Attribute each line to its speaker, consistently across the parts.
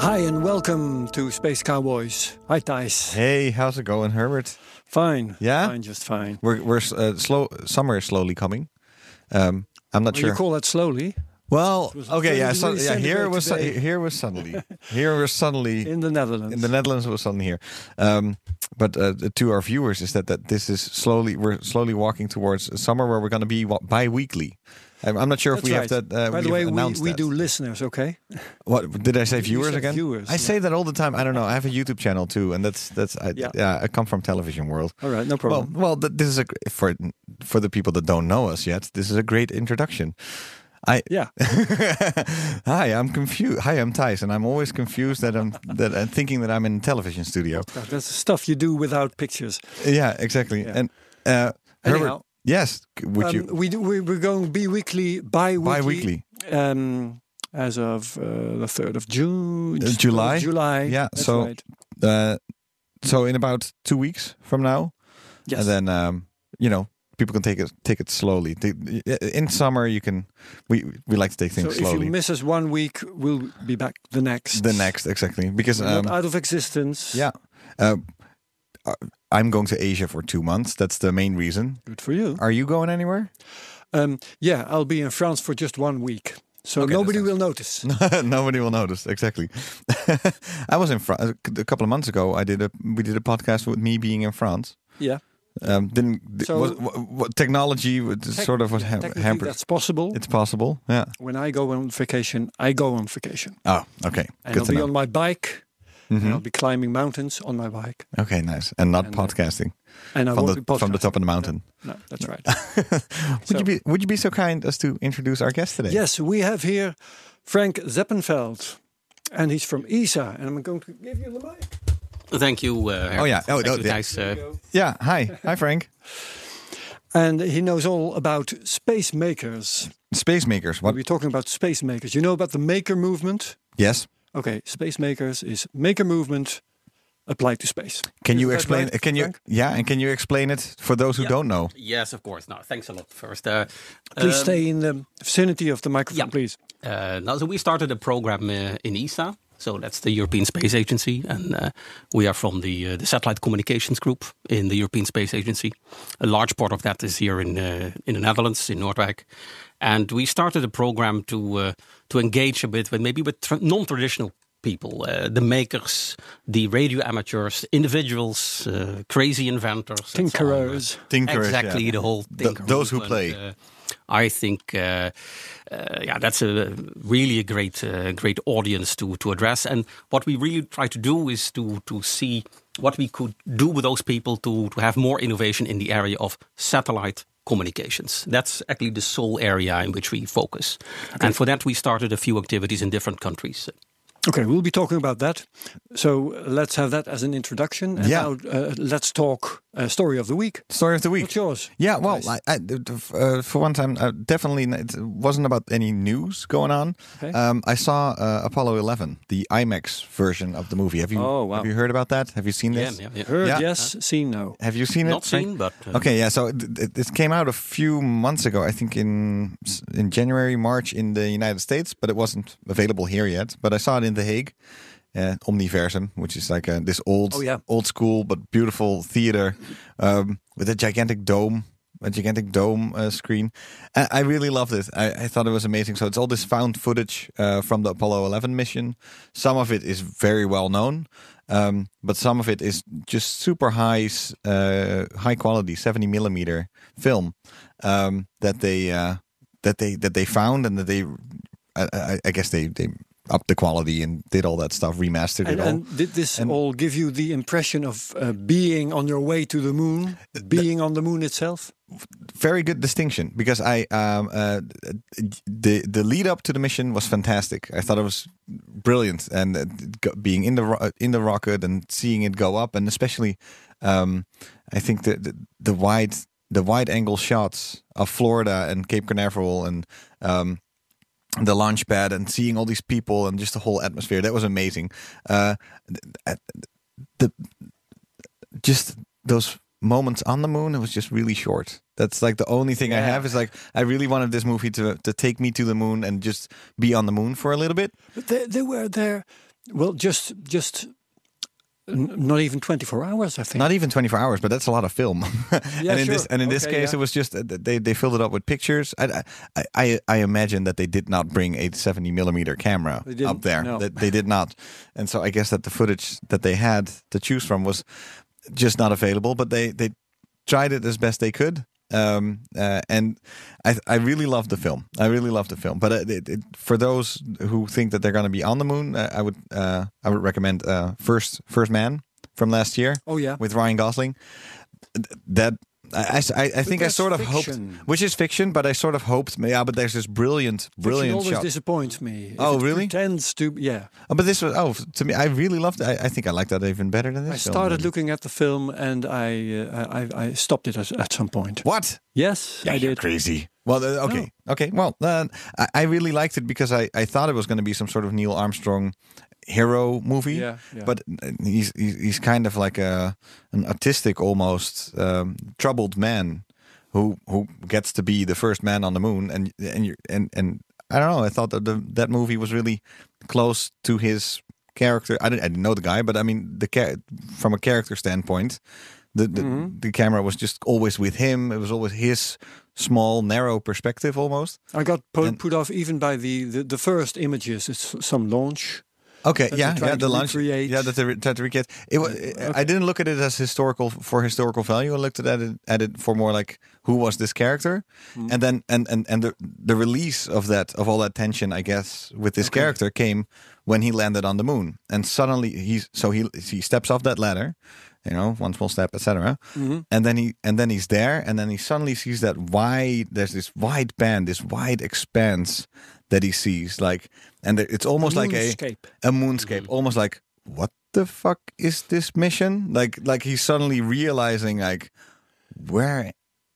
Speaker 1: Hi and welcome to Space Cowboys. Hi Thijs.
Speaker 2: Hey, how's it going, Herbert?
Speaker 1: Fine.
Speaker 2: Yeah?
Speaker 1: Fine, just fine.
Speaker 2: We're we're uh, slow. Summer is slowly coming. Um, I'm not
Speaker 1: Well,
Speaker 2: sure.
Speaker 1: You call that slowly
Speaker 2: well,
Speaker 1: was
Speaker 2: okay, yeah,
Speaker 1: 30
Speaker 2: sun-
Speaker 1: degrees
Speaker 2: yeah. Here
Speaker 1: centigrade
Speaker 2: was su-
Speaker 1: today.
Speaker 2: here was suddenly here was suddenly
Speaker 1: in the Netherlands.
Speaker 2: in the Netherlands was suddenly here. Um, but uh, to our viewers is that that this is slowly we're slowly walking towards a summer where we're going to be wa- bi-weekly. I'm, I'm not sure
Speaker 1: That's
Speaker 2: if we
Speaker 1: right.
Speaker 2: have that. Uh,
Speaker 1: By
Speaker 2: we
Speaker 1: the way,
Speaker 2: have
Speaker 1: we,
Speaker 2: announced
Speaker 1: we
Speaker 2: that.
Speaker 1: do listeners, okay?
Speaker 2: What did I say? Viewers
Speaker 1: said
Speaker 2: again?
Speaker 1: viewers,
Speaker 2: I
Speaker 1: yeah.
Speaker 2: say that all the time. I don't know. I have a YouTube channel too, and that's that's I,
Speaker 1: Yeah.
Speaker 2: yeah. I come from television world.
Speaker 1: All right, no problem.
Speaker 2: Well, well, th- this is a gr- for for the people that don't know us yet. This is a great introduction. I
Speaker 1: Yeah.
Speaker 2: hi, I'm confused. Hi, I'm Thijs, and I'm always confused that I'm that I'm thinking that I'm in a television studio.
Speaker 1: That's the stuff you do without pictures.
Speaker 2: Yeah, exactly.
Speaker 1: Yeah.
Speaker 2: And uh,
Speaker 1: Anyhow.
Speaker 2: Herbert, yes, c- would
Speaker 1: Um,
Speaker 2: you?
Speaker 1: we do, we, we're going bi-weekly, bi-weekly,
Speaker 2: Bi-weekly.
Speaker 1: Um, as of uh, the 3rd of June.
Speaker 2: Uh, July?
Speaker 1: July.
Speaker 2: Yeah,
Speaker 1: that's
Speaker 2: so-
Speaker 1: right.
Speaker 2: Uh, so in about two weeks from now,
Speaker 1: Yes.
Speaker 2: and then um, you know people can take it take it slowly. The- uh, In summer, you can we we like to take
Speaker 1: so
Speaker 2: things
Speaker 1: if
Speaker 2: slowly.
Speaker 1: you miss us one week, we'll be back the next.
Speaker 2: the next exactly because
Speaker 1: We're
Speaker 2: um,
Speaker 1: Not out of existence.
Speaker 2: yeah, uh, uh, I'm going to Asia for two months. That's the main reason.
Speaker 1: Good for you.
Speaker 2: Are you going anywhere?
Speaker 1: Um, yeah, I'll be in France for just one week. So
Speaker 2: Okay, that
Speaker 1: nobody
Speaker 2: sounds-
Speaker 1: will notice.
Speaker 2: Nobody will notice. Exactly. I was in France a couple of months ago. I did a we did a podcast with me being in France.
Speaker 1: Yeah.
Speaker 2: Um, didn't
Speaker 1: So-
Speaker 2: was, wa- wa- technology was
Speaker 1: Tec-
Speaker 2: sort of was ham-
Speaker 1: technically
Speaker 2: hampered.
Speaker 1: That's possible.
Speaker 2: It's possible. Yeah.
Speaker 1: When I go on vacation, I go on vacation.
Speaker 2: Oh, okay.
Speaker 1: And
Speaker 2: Good
Speaker 1: I'll
Speaker 2: to
Speaker 1: be
Speaker 2: know.
Speaker 1: on my bike.
Speaker 2: Mhm.
Speaker 1: And I'll be climbing mountains on my bike.
Speaker 2: Okay, nice. And not
Speaker 1: And, uh,
Speaker 2: podcasting
Speaker 1: And I
Speaker 2: from
Speaker 1: won't
Speaker 2: the
Speaker 1: be
Speaker 2: from the
Speaker 1: podcasting.
Speaker 2: top of the mountain.
Speaker 1: No, that's right.
Speaker 2: would
Speaker 1: So-
Speaker 2: you be Would you be so kind as to introduce our guest today?
Speaker 1: yes, we have here Frank Zeppenfeld. And he's from ESA. And I'm going to give you the mic.
Speaker 3: Thank you. Uh, Herbert.
Speaker 2: Oh, yeah. Oh,
Speaker 3: Thank
Speaker 2: no,
Speaker 3: you,
Speaker 2: yeah.
Speaker 3: Thijs. Uh,
Speaker 2: Yeah. Hi. Hi, Frank.
Speaker 1: And he knows all about space makers.
Speaker 2: Space makers. What?
Speaker 1: We're talking about space makers. You know about the maker movement?
Speaker 2: Yes.
Speaker 1: Okay, space makers is maker movement applied to space.
Speaker 2: Can you
Speaker 1: that
Speaker 2: explain?
Speaker 1: right,
Speaker 2: Can you?
Speaker 1: Frank?
Speaker 2: Yeah. And can you explain it for those who
Speaker 3: Yeah.
Speaker 2: don't know?
Speaker 3: yes, of course. No, thanks a lot. First, uh,
Speaker 1: Please
Speaker 3: um,
Speaker 1: stay in the vicinity of the microphone,
Speaker 3: yeah.
Speaker 1: please.
Speaker 3: Uh, now, so we started a program uh, in ESA. So that's the European Space Agency, and uh, we are from the uh, the satellite communications group in the European Space Agency. A large part of that is here in uh, in the Netherlands, in Noordwijk, and we started a program to uh, to engage a bit with maybe with tra- non traditional people, uh, the makers, the radio amateurs, individuals, uh, crazy inventors, and so on.
Speaker 1: Tinkerers.
Speaker 2: Tinkerers,
Speaker 3: exactly
Speaker 2: yeah.
Speaker 3: the whole
Speaker 2: Th-
Speaker 3: thing.
Speaker 2: those who play.
Speaker 3: uh, I think, uh, uh, yeah, that's a really a great, uh, great audience to to address. And what we really try to do is to to see what we could do with those people to to have more innovation in the area of satellite communications. That's actually the sole area in which we focus. And for that, we started a few activities in different countries.
Speaker 1: Okay, we'll be talking about that. So uh, let's have that as an introduction. And
Speaker 2: Yeah.
Speaker 1: now uh, let's talk uh, story of the week.
Speaker 2: Story of the week.
Speaker 1: What's yours?
Speaker 2: Yeah, well,
Speaker 1: Thijs?
Speaker 2: I, I, uh, for one time, uh, definitely n- it wasn't about any news going on.
Speaker 1: Okay.
Speaker 2: Um, I saw uh, Apollo 11, the IMAX version of the movie. Have you
Speaker 1: Oh, wow.
Speaker 2: have you heard about that? Have you seen
Speaker 3: Yeah,
Speaker 2: this?
Speaker 3: yeah, yeah.
Speaker 1: Heard
Speaker 2: Yeah.
Speaker 1: yes, seen no.
Speaker 2: Have you seen it?
Speaker 3: Not
Speaker 2: Frank?
Speaker 3: seen, but uh,
Speaker 2: Okay, yeah. So it, it, it came out a few months ago, I think in in January, March in the United States, but it wasn't available here yet. But I saw it in The Hague, uh, Omniversum, which is like uh, this old,
Speaker 1: Oh, yeah.
Speaker 2: old school but beautiful theater um, with a gigantic dome. A gigantic dome uh, screen. I, I really loved it. I, I thought it was amazing. So it's all this found footage uh, from the Apollo 11 mission. Some of it is very well known, um, but some of it is just super high, s- uh, high quality 70 millimeter film um, that they uh, that they that they found and that they, I, I, I guess they they up the quality and did all that stuff, remastered
Speaker 1: And,
Speaker 2: it all.
Speaker 1: and did this
Speaker 2: And-
Speaker 1: all give you the impression of uh, being on your way to the
Speaker 2: Uh,
Speaker 1: moon, being on the moon itself?
Speaker 2: very good distinction because I um, uh, the the lead up to the mission was fantastic. I thought it was brilliant, and uh, go- being in the ro- uh, in the rocket and seeing it go up, and especially um, I think the, the the wide the wide angle shots of Florida and Cape Canaveral and um, the launch pad and seeing all these people and just the whole atmosphere that was amazing. Uh, th- the just those moments on the moon it was just really short that's like the only thing i have is like i really wanted this movie to to take me to the moon and just be on the moon for a little bit
Speaker 1: But they, they were there, well, just just n- not even 24 hours, I think.
Speaker 2: not even 24 hours but that's a lot of film
Speaker 1: Yeah,
Speaker 2: and in this
Speaker 1: sure.
Speaker 2: and in this
Speaker 1: Okay,
Speaker 2: case
Speaker 1: yeah.
Speaker 2: it was just uh, they they filled it up with pictures i i i, I imagine that they did not bring a 70 millimeter camera
Speaker 1: They didn't,
Speaker 2: up there
Speaker 1: no.
Speaker 2: that they did not and so i guess that the footage that they had to choose from was just not available but they they tried it as best they could um uh, and i i really love the film i really love the film but uh, it, it, it- for those who think that they're going to be on the moon uh, i would uh i would recommend uh first first man from last year
Speaker 1: Oh, yeah.
Speaker 2: with Ryan Gosling. Th- That I, I- I, think I
Speaker 1: that's
Speaker 2: sort of
Speaker 1: fiction.
Speaker 2: hoped, which is fiction, but I sort of hoped. Yeah, but there's this brilliant,
Speaker 1: Fiction
Speaker 2: brilliant
Speaker 1: always
Speaker 2: shot.
Speaker 1: disappoints me. If
Speaker 2: Oh,
Speaker 1: it
Speaker 2: really?
Speaker 1: Pretends to, yeah.
Speaker 2: Oh, but this was oh f- to me, I really loved. it. I, I think I liked that even better than this.
Speaker 1: I
Speaker 2: film.
Speaker 1: started looking at the film and I uh, I, I stopped it at, at some point.
Speaker 2: What?
Speaker 1: Yes, I did.
Speaker 2: crazy. Well, uh, okay, okay. Well, uh, I, I really liked it because I, I thought it was going to be some sort of Neil Armstrong hero movie,
Speaker 1: Yeah, yeah.
Speaker 2: but uh, he's he's he's kind of like a an autistic, almost um, troubled man who who gets to be the first man on the moon, and and you and and I don't know. I thought that the, that movie was really close to his character. I didn't, I didn't know the guy, but I mean, the cha- from a character standpoint, the the, the camera was just always with him. It was always his small, narrow perspective, almost.
Speaker 1: I got put, put off even by the, the, the first images. It's some launch.
Speaker 2: Okay,
Speaker 1: That
Speaker 2: yeah,
Speaker 1: they tried
Speaker 2: yeah,
Speaker 1: to
Speaker 2: the lunch,
Speaker 1: recreate.
Speaker 2: yeah, that they re- tried to recreate. It was, I didn't look at it as historical for historical value. I looked at it at it for more like who was this character,
Speaker 1: Mm-hmm.
Speaker 2: and then and and and the the release of that of all that tension, I guess, with this character came when he landed on the moon, and suddenly he's so he he steps off that ladder, you know, one small step, etc.
Speaker 1: Mm-hmm.
Speaker 2: And then he and then he's there, and then he suddenly sees that wide. There's this wide band, this wide expanse that he sees, like, and there- it's almost like a
Speaker 1: moonscape.
Speaker 2: a moonscape
Speaker 1: Mm-hmm.
Speaker 2: almost like what the fuck is this mission like like he's suddenly realizing like where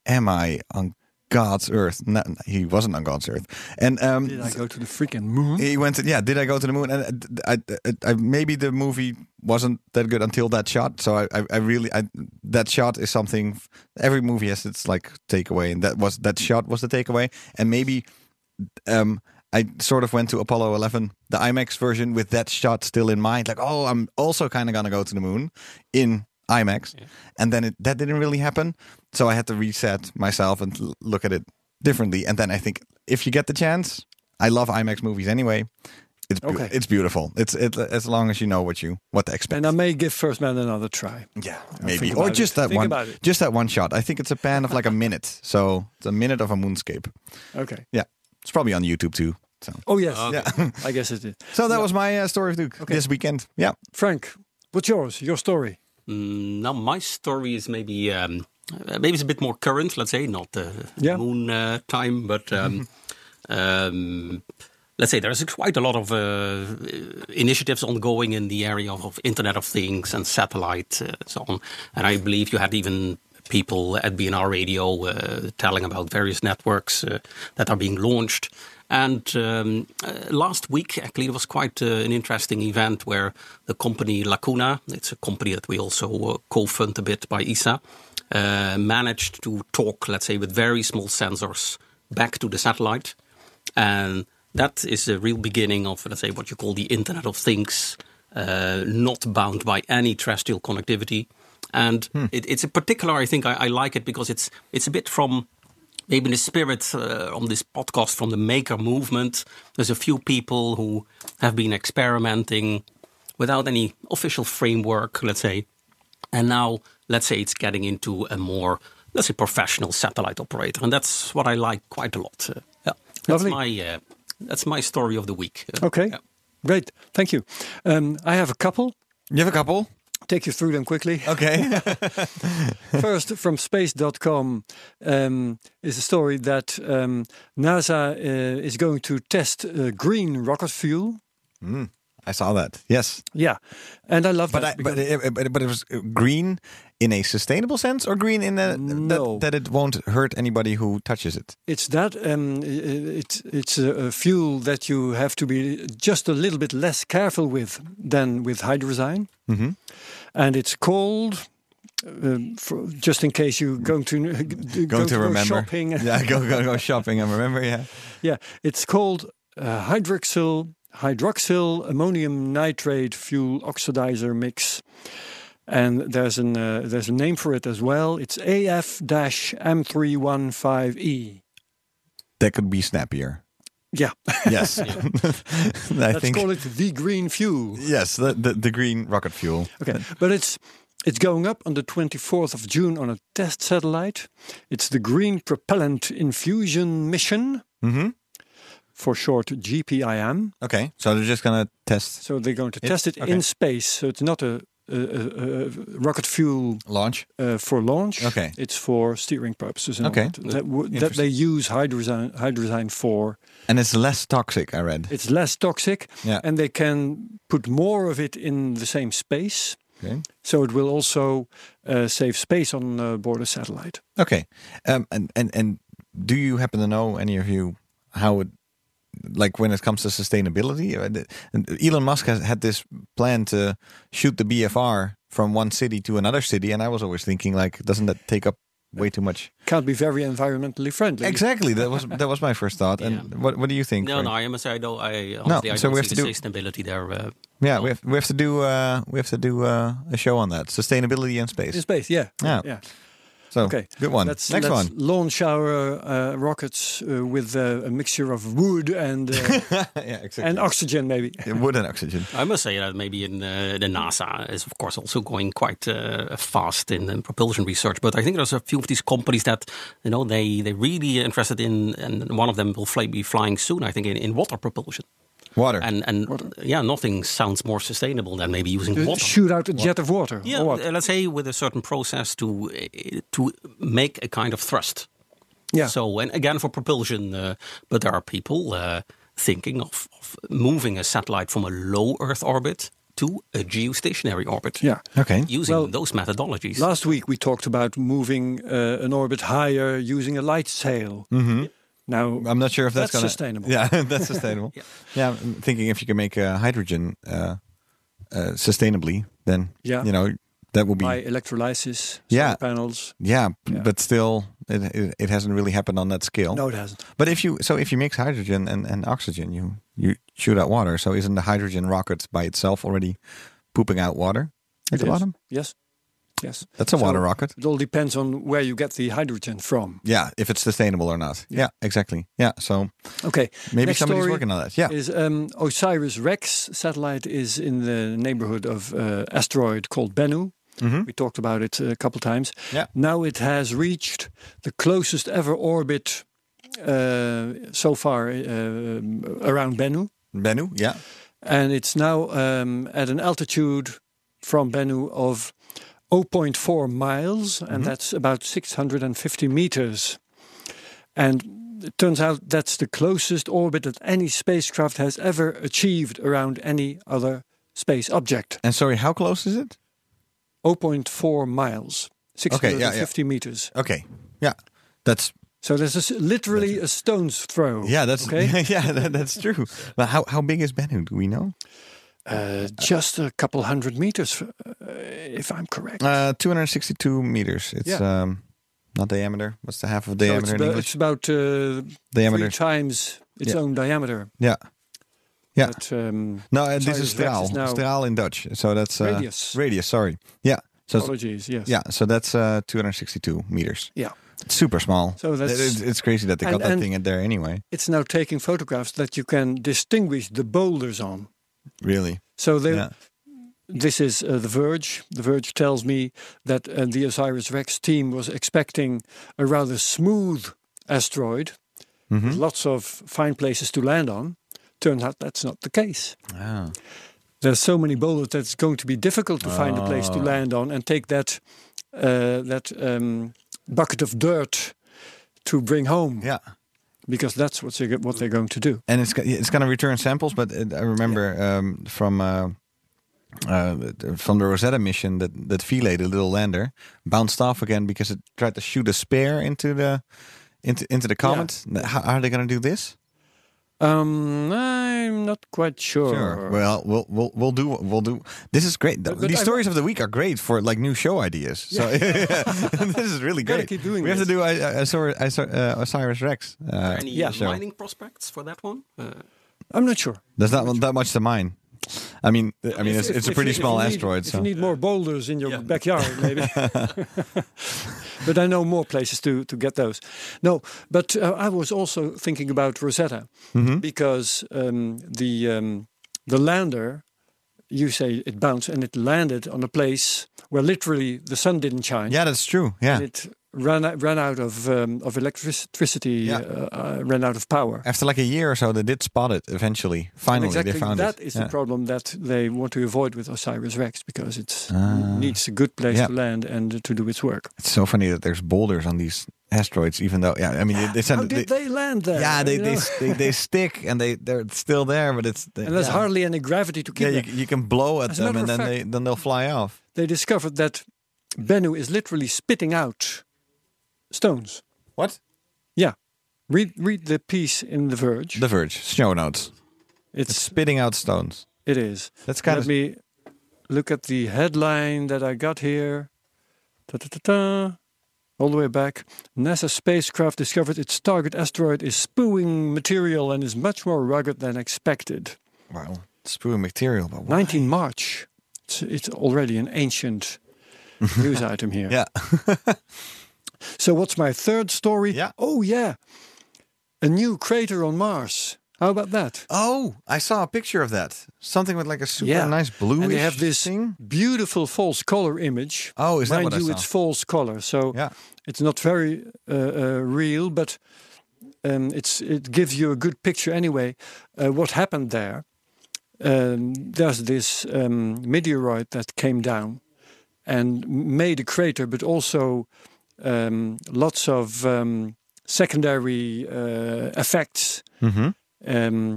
Speaker 2: am i on god's earth no, no, he wasn't on god's earth and um
Speaker 1: Did I go to the freaking moon?
Speaker 2: he went to, yeah did i go to the moon and uh, I, I, I maybe the movie wasn't that good until that shot so i i, I really I, that shot is something every movie has its like takeaway and that was that shot was the takeaway and maybe um I sort of went to Apollo 11, the IMAX version, with that shot still in mind. Like, oh, I'm also kind of gonna go to the moon in IMAX, and then it, that didn't really happen. So I had to reset myself and l- look at it differently. And then I think if you get the chance, I love IMAX movies anyway. It's beau-
Speaker 1: Okay.
Speaker 2: it's beautiful. It's it, as long as you know what you what to expect.
Speaker 1: And I may give First Man another try.
Speaker 2: yeah, maybe
Speaker 1: think
Speaker 2: or
Speaker 1: about
Speaker 2: just
Speaker 1: it.
Speaker 2: that
Speaker 1: Think
Speaker 2: one,
Speaker 1: about it.
Speaker 2: just that one shot. I think it's a pan of like a minute, so it's a minute of a moonscape.
Speaker 1: Okay.
Speaker 2: Yeah, it's probably on YouTube too. So.
Speaker 1: Oh, yes.
Speaker 2: Yeah.
Speaker 1: I guess it is.
Speaker 2: So that was my uh, story of Duke this weekend. Yeah.
Speaker 1: Frank, what's yours? Your story?
Speaker 3: Mm, now my story is maybe um, uh, maybe it's a bit more current. Let's say not uh,
Speaker 1: Yeah.
Speaker 3: moon uh, time, but um, um, let's say there's quite a lot of uh, initiatives ongoing in the area of, of Internet of Things and satellite uh, and so on. And I believe you had even people at BNR Radio uh, telling about various networks uh, that are being launched. And um, uh, last week, actually, it was quite uh, an interesting event where the company Lacuna, it's a company that we also uh, co-fund a bit by ESA, uh, managed to talk, let's say, with very small sensors back to the satellite. And that is the real beginning of, let's say, what you call the Internet of Things, uh, not bound by any terrestrial connectivity. And it, it's a particular, I think, I, I like it because it's it's a bit from maybe the spirit uh, on this podcast from the maker movement. There's a few people who have been experimenting without any official framework, let's say, and now, let's say it's getting into a more, let's say, professional satellite operator. And that's what I like quite a lot. Uh, yeah. That's
Speaker 1: Lovely.
Speaker 3: my, uh, that's my story of the week. Uh,
Speaker 1: Okay.
Speaker 3: yeah.
Speaker 1: Great, thank you. Um, I have a couple.
Speaker 2: You have a couple?
Speaker 1: Take you through them quickly.
Speaker 2: Okay.
Speaker 1: First, from space.com um, is a story that um, NASA uh, is going to test uh, green rocket fuel.
Speaker 2: I saw that. Yes.
Speaker 1: Yeah, and I love
Speaker 2: But,
Speaker 1: that.
Speaker 2: I,
Speaker 1: because-
Speaker 2: but, it, but, it, but it was uh, green in a sustainable sense or green in a
Speaker 1: No.
Speaker 2: that, that it won't hurt anybody who touches it?
Speaker 1: It's that, um, i- i- it's it's a, a fuel that you have to be just a little bit less careful with than with hydrazine,
Speaker 2: Mm-hmm.
Speaker 1: and it's cold. Um, for, just in case you're going to going,
Speaker 2: Going to
Speaker 1: go
Speaker 2: remember.
Speaker 1: shopping,
Speaker 2: Yeah, go, go, go shopping and remember, yeah.
Speaker 1: yeah, it's called uh, hydroxyl hydroxyl ammonium nitrate fuel oxidizer mix, and there's an uh, there's a name for it as well. It's AF-M315E.
Speaker 2: That could be snappier.
Speaker 1: E. Yeah,
Speaker 2: Yes. I
Speaker 1: let's
Speaker 2: think.
Speaker 1: call it the green fuel.
Speaker 2: Yes, the, the, the green rocket fuel.
Speaker 1: Okay, but it's it's going up on the 24th of June on a test satellite. It's the Green Propellant Infusion Mission,
Speaker 2: hmm
Speaker 1: for short GPIM.
Speaker 2: Okay, so they're just going to test
Speaker 1: So they're going to
Speaker 2: It-
Speaker 1: test it
Speaker 2: okay.
Speaker 1: in space. So it's not a, a, a, a rocket fuel
Speaker 2: launch.
Speaker 1: uh, for launch.
Speaker 2: Okay.
Speaker 1: It's for steering purposes. And all
Speaker 2: Okay.
Speaker 1: that. That, wo- that
Speaker 2: Interesting.
Speaker 1: they use hydrazine, hydrazine for.
Speaker 2: And it's less toxic, I read.
Speaker 1: It's less toxic,
Speaker 2: Yeah.
Speaker 1: and they can put more of it in the same space.
Speaker 2: Okay.
Speaker 1: So it will also uh, save space on uh, board a satellite.
Speaker 2: Okay. Um, and, and, and do you happen to know, any of you, how it, like when it comes to sustainability? uh, the- and Elon Musk has had this plan to shoot the BFR from one city to another city. And I was always thinking, like, doesn't that take up way too much?
Speaker 1: Can't be very environmentally friendly.
Speaker 2: Exactly. That was that was my first thought. And
Speaker 3: Yeah.
Speaker 2: what, what do you think?
Speaker 3: No,
Speaker 2: Frank?
Speaker 3: no, I am sorry. I don't. I honestly, I
Speaker 2: so
Speaker 3: don't
Speaker 2: we have
Speaker 3: see
Speaker 2: to
Speaker 3: the
Speaker 2: do-
Speaker 3: sustainability there. Uh,
Speaker 2: Yeah, we have we have to do uh, we have to do uh, a show on that sustainability in
Speaker 1: In
Speaker 2: space.
Speaker 1: space, yeah.
Speaker 2: Yeah.
Speaker 1: yeah.
Speaker 2: So
Speaker 1: Okay.
Speaker 2: good one.
Speaker 1: Let's,
Speaker 2: Next
Speaker 1: let's
Speaker 2: one.
Speaker 1: launch our uh, rockets uh, with uh, a mixture of wood and uh,
Speaker 2: yeah, exactly.
Speaker 1: and oxygen, maybe.
Speaker 2: Wood and oxygen.
Speaker 3: I must say that maybe in uh, the NASA is of course also going quite uh, fast in, in propulsion research. But I think there's a few of these companies that you know they they really are interested in, and one of them will fly, be flying soon. I think in, in water propulsion.
Speaker 2: Water.
Speaker 3: And and yeah, nothing sounds more sustainable than maybe using water.
Speaker 1: Shoot out a jet of water.
Speaker 3: Yeah,
Speaker 1: or what?
Speaker 3: uh, let's say with a certain process to uh, to make a kind of thrust.
Speaker 1: Yeah.
Speaker 3: So and again for propulsion, uh, but there are people uh, thinking of, of moving a satellite from a low Earth orbit to a geostationary orbit.
Speaker 1: yeah.
Speaker 2: okay.
Speaker 3: Using
Speaker 1: Well,
Speaker 3: those methodologies.
Speaker 1: Last week we talked about moving uh, an orbit higher using a light sail. Now,
Speaker 2: Mm-hmm. I'm not sure if
Speaker 1: That's
Speaker 2: that's, gonna,
Speaker 1: sustainable.
Speaker 2: Yeah, that's sustainable. yeah. I'm thinking if you can make uh, hydrogen uh, uh, sustainably, then
Speaker 1: Yeah.
Speaker 2: you know that will be
Speaker 1: by electrolysis,
Speaker 2: Yeah.
Speaker 1: solar panels.
Speaker 2: yeah, But still, it, it it hasn't really happened on that scale.
Speaker 1: No, it hasn't.
Speaker 2: But if you so if you mix hydrogen and, and oxygen, you you shoot out water. So isn't the hydrogen rocket by itself already pooping out water at
Speaker 1: It
Speaker 2: the
Speaker 1: is.
Speaker 2: bottom?
Speaker 1: Yes. Yes.
Speaker 2: That's a
Speaker 1: So
Speaker 2: water rocket.
Speaker 1: It all depends on where you get the hydrogen from.
Speaker 2: Yeah, if it's sustainable or not. Yeah, exactly. Yeah, so
Speaker 1: Okay.
Speaker 2: maybe
Speaker 1: next
Speaker 2: somebody's
Speaker 1: story
Speaker 2: working on that. Yeah.
Speaker 1: Is um, Osiris Rex satellite is in the neighborhood of uh, asteroid called Bennu. We talked about it a couple times.
Speaker 2: Mm-hmm. Yeah.
Speaker 1: Now it has reached the closest ever orbit uh, so far uh, around Bennu,
Speaker 2: Bennu, yeah.
Speaker 1: and it's now um, at an altitude from Bennu of 0.4 miles, and
Speaker 2: Mm-hmm.
Speaker 1: that's about 650 meters. And it turns out that's the closest orbit that any spacecraft has ever achieved around any other space object.
Speaker 2: And sorry, how close is it?
Speaker 1: 0.4 miles,
Speaker 2: Okay, yeah, yeah.
Speaker 1: 650 meters.
Speaker 2: Okay. Yeah. That's
Speaker 1: So there's a s literally a stone's throw.
Speaker 2: yeah, that's
Speaker 1: okay.
Speaker 2: yeah, that, that's true. But how how big is Bennu? Do we know?
Speaker 1: Uh, just a couple hundred meters, uh, if I'm correct.
Speaker 2: Uh 262 meters. It's
Speaker 1: Yeah.
Speaker 2: um not diameter. What's the half of
Speaker 1: So
Speaker 2: diameter
Speaker 1: it's,
Speaker 2: in
Speaker 1: about,
Speaker 2: English?
Speaker 1: it's about uh,
Speaker 2: Diameter.
Speaker 1: three times its
Speaker 2: Yeah.
Speaker 1: own diameter.
Speaker 2: Yeah. Yeah.
Speaker 1: But, um,
Speaker 2: No, and this
Speaker 1: Sorry,
Speaker 2: is
Speaker 1: the Rex
Speaker 2: straal.
Speaker 1: is now-
Speaker 2: straal in Dutch. So that's uh,
Speaker 1: Radius.
Speaker 2: Radius. Sorry. Yeah. So it's-
Speaker 1: apologies, yes.
Speaker 2: yeah. So that's uh, 262 meters.
Speaker 1: Yeah.
Speaker 2: It's super small.
Speaker 1: So that's-
Speaker 2: It- it's, it's crazy that they
Speaker 1: and-
Speaker 2: got that
Speaker 1: and-
Speaker 2: thing in there anyway.
Speaker 1: It's now taking photographs that you can distinguish the boulders on.
Speaker 2: Really.
Speaker 1: So they,
Speaker 2: Yeah.
Speaker 1: this is uh, The Verge. The Verge tells me that uh, the Osiris Rex team was expecting a
Speaker 2: Mm-hmm.
Speaker 1: rather smooth asteroid with lots of fine places to land on. turns out that's not the case.
Speaker 2: Ah.
Speaker 1: There's so many boulders that it's going to be difficult to find a place to land on and take that uh, that um, bucket of dirt to bring home
Speaker 2: Yeah.
Speaker 1: because that's what they're what they're going to do.
Speaker 2: and it's go- it's going to return samples. But it, I remember um, from uh, uh, th- from the Rosetta mission that that Philae, the little lander, bounced off again because it tried to shoot a spear into the into into the comet. N- How, how are they going to do this?
Speaker 1: Um, I'm not quite sure.
Speaker 2: Well, we'll we'll we'll do we'll do. This is great.
Speaker 1: but
Speaker 2: These
Speaker 1: I-
Speaker 2: stories of the week are great for like new show ideas. So this is
Speaker 1: Gotta
Speaker 2: really great.
Speaker 1: keep doing
Speaker 2: we have to do I, I, Osir- Osir- uh, Osiris Rex. Uh,
Speaker 3: Any
Speaker 1: Yeah,
Speaker 2: sure.
Speaker 3: mining prospects for that one? Uh,
Speaker 1: I'm not sure.
Speaker 2: there's not that much to mine. I mean, I mean, it's,
Speaker 1: If-
Speaker 2: it's a
Speaker 1: if
Speaker 2: pretty
Speaker 1: you- if
Speaker 2: small
Speaker 1: you need-
Speaker 2: asteroid.
Speaker 1: If
Speaker 2: so.
Speaker 1: you need more boulders in your
Speaker 3: Yeah.
Speaker 1: backyard, maybe. but I know more places to, to get those. No, but uh, I was also thinking about Rosetta
Speaker 2: Mm-hmm.
Speaker 1: because um, the um, the lander, you say it bounced and it landed on a place where literally the sun didn't shine.
Speaker 2: Yeah, that's true. Yeah.
Speaker 1: And it ran out- ran out of um, of electricity,
Speaker 2: Yeah.
Speaker 1: uh, uh, ran out of power.
Speaker 2: After like a year or so, they did spot it eventually. Finally,
Speaker 1: exactly
Speaker 2: they found
Speaker 1: that
Speaker 2: it.
Speaker 1: is
Speaker 2: yeah.
Speaker 1: the problem that they want to avoid with Osiris Rex because it
Speaker 2: Ah.
Speaker 1: needs a good place
Speaker 2: Yeah.
Speaker 1: to land and to do its work.
Speaker 2: It's so funny that there's boulders on these asteroids, even though, yeah, I mean, they, they send
Speaker 1: How did
Speaker 2: they-
Speaker 1: they, land there?
Speaker 2: yeah, they,
Speaker 1: you
Speaker 2: they,
Speaker 1: know?
Speaker 2: they, they stick and they, they're still there, but it's. They,
Speaker 1: and there's
Speaker 2: yeah.
Speaker 1: hardly any gravity to
Speaker 2: Yeah,
Speaker 1: keep.
Speaker 2: you,
Speaker 1: them.
Speaker 2: you can blow at
Speaker 1: As a
Speaker 2: them
Speaker 1: matter
Speaker 2: and
Speaker 1: of
Speaker 2: then, they,
Speaker 1: fact-
Speaker 2: then they'll fly off.
Speaker 1: They discovered that Bennu is literally spitting out stones.
Speaker 2: What?
Speaker 1: Yeah, read read the piece in The Verge.
Speaker 2: The Verge, snow notes,
Speaker 1: it's
Speaker 2: spitting out stones.
Speaker 1: it is.
Speaker 2: That's kind
Speaker 1: Let
Speaker 2: of.
Speaker 1: me look at the headline that I got here. Ta ta ta ta. All the way back. NASA spacecraft discovered its target asteroid is spewing material and is much more rugged than expected.
Speaker 2: Wow. Spewing material, but what?
Speaker 1: 19 March. It's, it's already an ancient news item here.
Speaker 2: Yeah.
Speaker 1: So, what's my third story?
Speaker 2: Yeah.
Speaker 1: Oh, yeah. A new crater on Mars. How about that?
Speaker 2: Oh, I saw a picture of that. Something with like a super
Speaker 1: Yeah.
Speaker 2: nice bluish
Speaker 1: and they have this
Speaker 2: thing.
Speaker 1: beautiful false color image.
Speaker 2: Oh, is that
Speaker 1: Mind
Speaker 2: what I
Speaker 1: you,
Speaker 2: saw?
Speaker 1: it's false color, so
Speaker 2: Yeah.
Speaker 1: it's not very uh, uh, real, but um, it's it gives you a good picture anyway. Uh, what happened there? Um, there's this um, meteoroid that came down and m- made a crater, but also um, lots of um, secondary uh, effects
Speaker 2: Mm-hmm.
Speaker 1: um,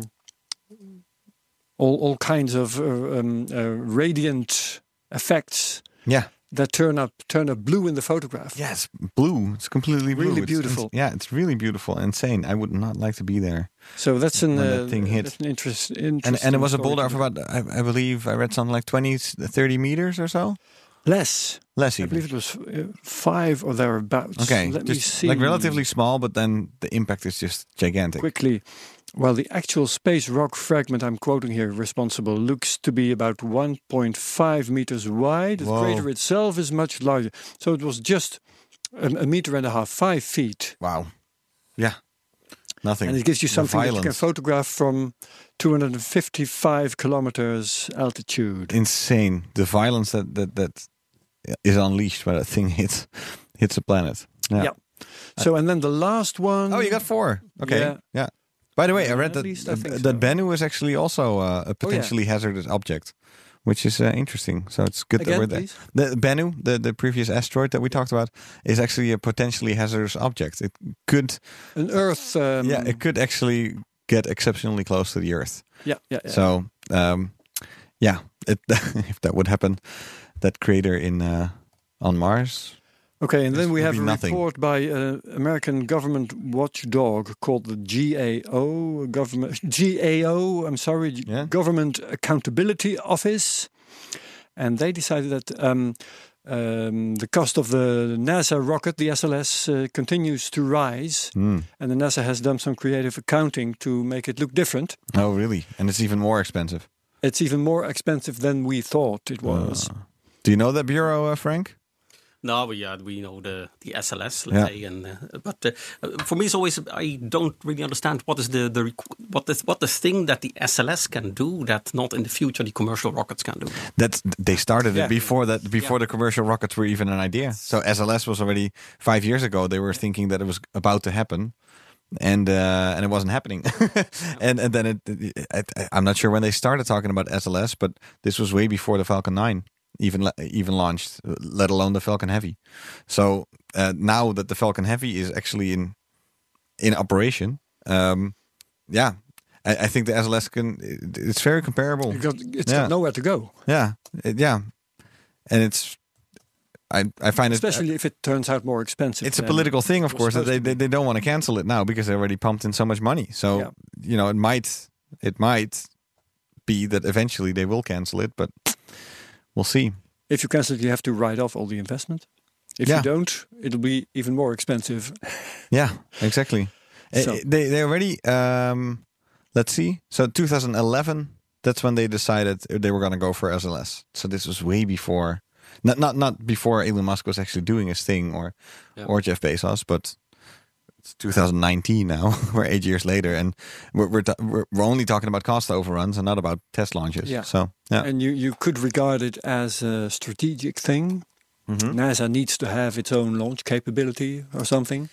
Speaker 1: all, all kinds of uh, um, uh, radiant effects
Speaker 2: Yeah.
Speaker 1: that turn up turn up blue in the photograph.
Speaker 2: Yeah, it's blue. It's completely blue.
Speaker 1: Really
Speaker 2: It's- it's-
Speaker 1: beautiful.
Speaker 2: yeah, it's really beautiful. Insane. I would not like to be there.
Speaker 1: So that's an
Speaker 2: When
Speaker 1: uh,
Speaker 2: that thing hit.
Speaker 1: That's an interest,
Speaker 2: And
Speaker 1: interesting.
Speaker 2: and it was a
Speaker 1: story
Speaker 2: boulder
Speaker 1: to
Speaker 2: of
Speaker 1: do.
Speaker 2: about I, I believe I read something like 20, 30 meters or so.
Speaker 1: less.
Speaker 2: Less
Speaker 1: I
Speaker 2: even.
Speaker 1: believe it was uh, five or thereabouts.
Speaker 2: Okay,
Speaker 1: let me
Speaker 2: just
Speaker 1: see.
Speaker 2: like relatively small, but then the impact is just gigantic.
Speaker 1: quickly. While the actual space rock fragment I'm quoting here, responsible, looks to be about 1.5 meters wide,
Speaker 2: Whoa.
Speaker 1: the crater itself is much larger. So it was just a, a meter and a half, five feet.
Speaker 2: Wow. Yeah. Nothing.
Speaker 1: And it gives you
Speaker 2: The
Speaker 1: something that you can
Speaker 2: violence.
Speaker 1: photograph from 255 kilometers altitude.
Speaker 2: Insane. The violence that that that is unleashed when a thing hits hits a planet. Yeah.
Speaker 1: Yeah. So, and then the last one.
Speaker 2: Oh, you got four. Okay. Yeah.
Speaker 1: Yeah.
Speaker 2: By the way, I
Speaker 1: Yeah,
Speaker 2: read
Speaker 1: at
Speaker 2: that
Speaker 1: least I think
Speaker 2: that
Speaker 1: so. Oh,
Speaker 2: Bennu is actually also uh, a potentially hazardous object, which is uh, interesting. So it's good
Speaker 1: Again,
Speaker 2: that we're
Speaker 1: please?
Speaker 2: there. The Bennu, the, the previous asteroid that we talked about, is actually a potentially hazardous object. It could,
Speaker 1: an Earth. Um,
Speaker 2: yeah, it could actually get exceptionally close to the Earth.
Speaker 1: yeah, yeah, yeah.
Speaker 2: So, um, yeah, it, if that would happen, that crater in uh, on Mars.
Speaker 1: Okay, and
Speaker 2: This
Speaker 1: then we
Speaker 2: would
Speaker 1: have
Speaker 2: be
Speaker 1: a
Speaker 2: nothing.
Speaker 1: report by an American government watchdog called the GAO, government GAO. I'm sorry,
Speaker 2: Yeah.
Speaker 1: Government Accountability Office, and they decided that um, um, the cost of the NASA rocket, the SLS, uh, continues to rise,
Speaker 2: Hmm.
Speaker 1: and the NASA has done some creative accounting to make it look different.
Speaker 2: Oh, really? And it's even more expensive.
Speaker 1: It's even more expensive than we thought it was.
Speaker 2: Do you know that bureau, uh, Frank?
Speaker 3: No, we uh, we know the the SLS, let's
Speaker 2: Yeah.
Speaker 3: say, and uh, but uh, for me it's always I don't really understand what is the the requ- what is what the thing that the SLS can do that not in the future the commercial rockets can do.
Speaker 2: That's they started
Speaker 1: Yeah.
Speaker 2: it before that before the commercial rockets were even an idea. So SLS was already five years ago. They were thinking that it was about to happen, and uh, and it wasn't happening. and and then it, it, I, I'm not sure when they started talking about SLS, but this was way before the Falcon 9 even la- even launched, let alone the Falcon Heavy. So uh, now that the Falcon Heavy is actually in in operation, um, yeah, I, I think the SLS can it- it's very comparable.
Speaker 1: You've got- it's
Speaker 2: Yeah.
Speaker 1: got
Speaker 2: uh,
Speaker 1: nowhere to go,
Speaker 2: Yeah, it- yeah, and it's I I find it uh,
Speaker 1: especially if it turns out more expensive.
Speaker 2: it's a
Speaker 1: than-
Speaker 2: political thing, of
Speaker 1: was
Speaker 2: course. That they,
Speaker 1: supposed
Speaker 2: they they don't want to cancel it now because they already pumped in so much money. So
Speaker 1: Yeah.
Speaker 2: you know, it might it might be that eventually they will cancel it, but we'll see.
Speaker 1: If you cancel it, you have to write off all the investment. If
Speaker 2: Yeah.
Speaker 1: you don't, it'll be even more expensive.
Speaker 2: Yeah, exactly. Eh,
Speaker 1: So-
Speaker 2: eh, They they already um, let's see. So 2011, that's when they decided they were going to go for SLS. So this was way before, not not not before Elon Musk was actually doing his thing or or Jeff Bezos, but it's 2019 now. we're eight years later, and we're we're, ta- we're we're only talking about cost overruns and not about test launches.
Speaker 1: Yeah.
Speaker 2: So yeah,
Speaker 1: And you, you could regard it as a strategic thing.
Speaker 2: Mm-hmm.
Speaker 1: NASA needs to have its own launch capability or something.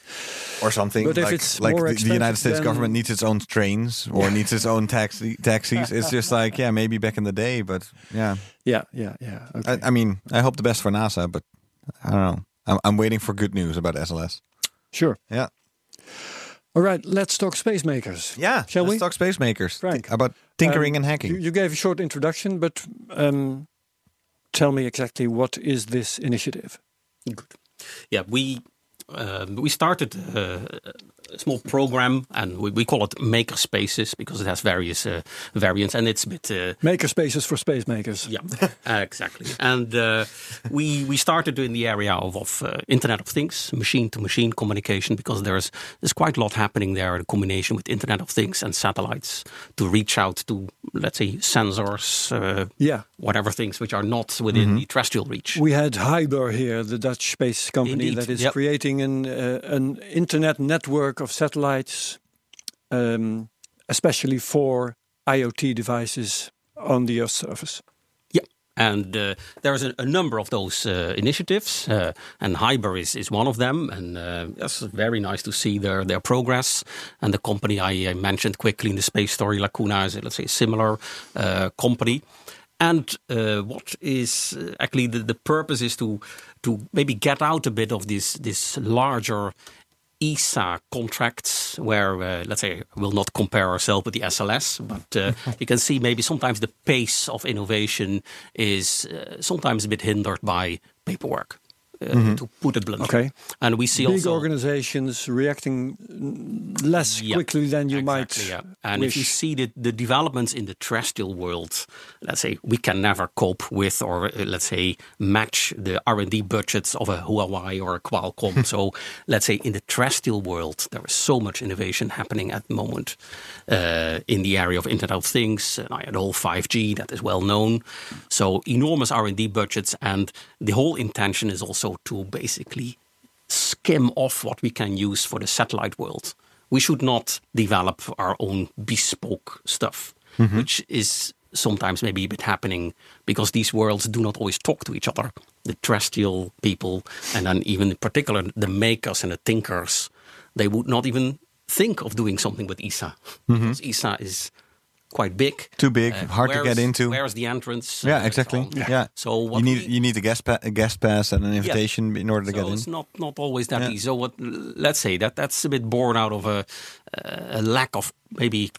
Speaker 2: or something.
Speaker 1: But if
Speaker 2: like,
Speaker 1: it's
Speaker 2: like
Speaker 1: more
Speaker 2: the, the United
Speaker 1: expensive
Speaker 2: States
Speaker 1: than-
Speaker 2: government needs its own trains or needs its own taxi taxis. It's just like yeah, maybe back in the day, but yeah.
Speaker 1: Yeah, yeah, yeah. Okay.
Speaker 2: I, I mean, I hope the best for NASA, but I don't know. I'm, I'm waiting for good news about SLS.
Speaker 1: sure.
Speaker 2: Yeah,
Speaker 1: All right, let's talk space makers.
Speaker 2: yeah.
Speaker 1: Shall
Speaker 2: let's
Speaker 1: we?
Speaker 2: talk space makers?
Speaker 1: Frank. um,
Speaker 2: about tinkering and
Speaker 1: You,
Speaker 2: hacking.
Speaker 1: you gave a short introduction, but um, tell me exactly what is this initiative?
Speaker 3: Good. Yeah, we um, we started uh, a small program, and we, we call it Maker Spaces because it has various uh, variants, and it's a bit. Uh,
Speaker 1: Maker spaces for space makers.
Speaker 3: yeah, uh, exactly. And uh, we we started in the area of, of uh, Internet of Things, machine to machine communication, because there's there's quite a lot happening there. in combination with Internet of Things and satellites to reach out to, let's say, sensors, uh,
Speaker 1: Yeah.
Speaker 3: whatever things which are not within the terrestrial reach.
Speaker 1: We had Hyber here, the Dutch space company
Speaker 3: Indeed,
Speaker 1: that is
Speaker 3: yep.
Speaker 1: creating an uh, an internet network of satellites, um, especially for IoT devices on the Earth's surface.
Speaker 3: Yeah, and uh, there is a, a number of those uh, initiatives, uh, and Hyber is, is one of them. And uh, that's very nice to see their, their progress. And the company I, I mentioned quickly in the space story, Lacuna, is let's say a similar uh, company. And uh, what is uh, actually the, the purpose is to to maybe get out a bit of this this larger ESA E contracts, where uh, let's say we'll not compare ourselves with the SLS, but uh, you can see maybe sometimes the pace of innovation is uh, sometimes a bit hindered by paperwork, uh, to put it bluntly.
Speaker 1: Mm-hmm. Okay.
Speaker 3: and we see
Speaker 1: Big
Speaker 3: also
Speaker 1: organizations reacting mm, less
Speaker 3: Yeah,
Speaker 1: quickly than you
Speaker 3: exactly,
Speaker 1: might.
Speaker 3: yeah. And if you
Speaker 1: wish.
Speaker 3: see the, the developments in the terrestrial world, let's say we can never cope with or uh, let's say match the R and D budgets of a Huawei or a Qualcomm. so let's say in the terrestrial world, there is so much innovation happening at the moment uh, in the area of Internet of Things and I had all 5G that is well known. So enormous R and D budgets, and the whole intention is also to basically skim off what we can use for the satellite world. We should not develop our own bespoke stuff,
Speaker 2: Mm-hmm.
Speaker 3: which is sometimes maybe a bit happening because these worlds do not always talk to each other. The terrestrial people, and then even in particular the makers and the thinkers, they would not even think of doing something with ESA because ESA is quite big,
Speaker 2: Mm-hmm. Too big, hard to
Speaker 3: where
Speaker 2: get
Speaker 3: is-
Speaker 2: into.
Speaker 3: Where is the entrance? Uh,
Speaker 2: yeah,
Speaker 3: so
Speaker 2: exactly.
Speaker 3: on.
Speaker 2: Yeah.
Speaker 3: So what
Speaker 2: you need
Speaker 3: we-
Speaker 2: you need a guest pa- a guest pass and an invitation in order to
Speaker 3: so
Speaker 2: get in.
Speaker 3: it's not not always that
Speaker 2: Yeah.
Speaker 3: easy. So what? Let's say that that's a bit born out of a, a lack of maybe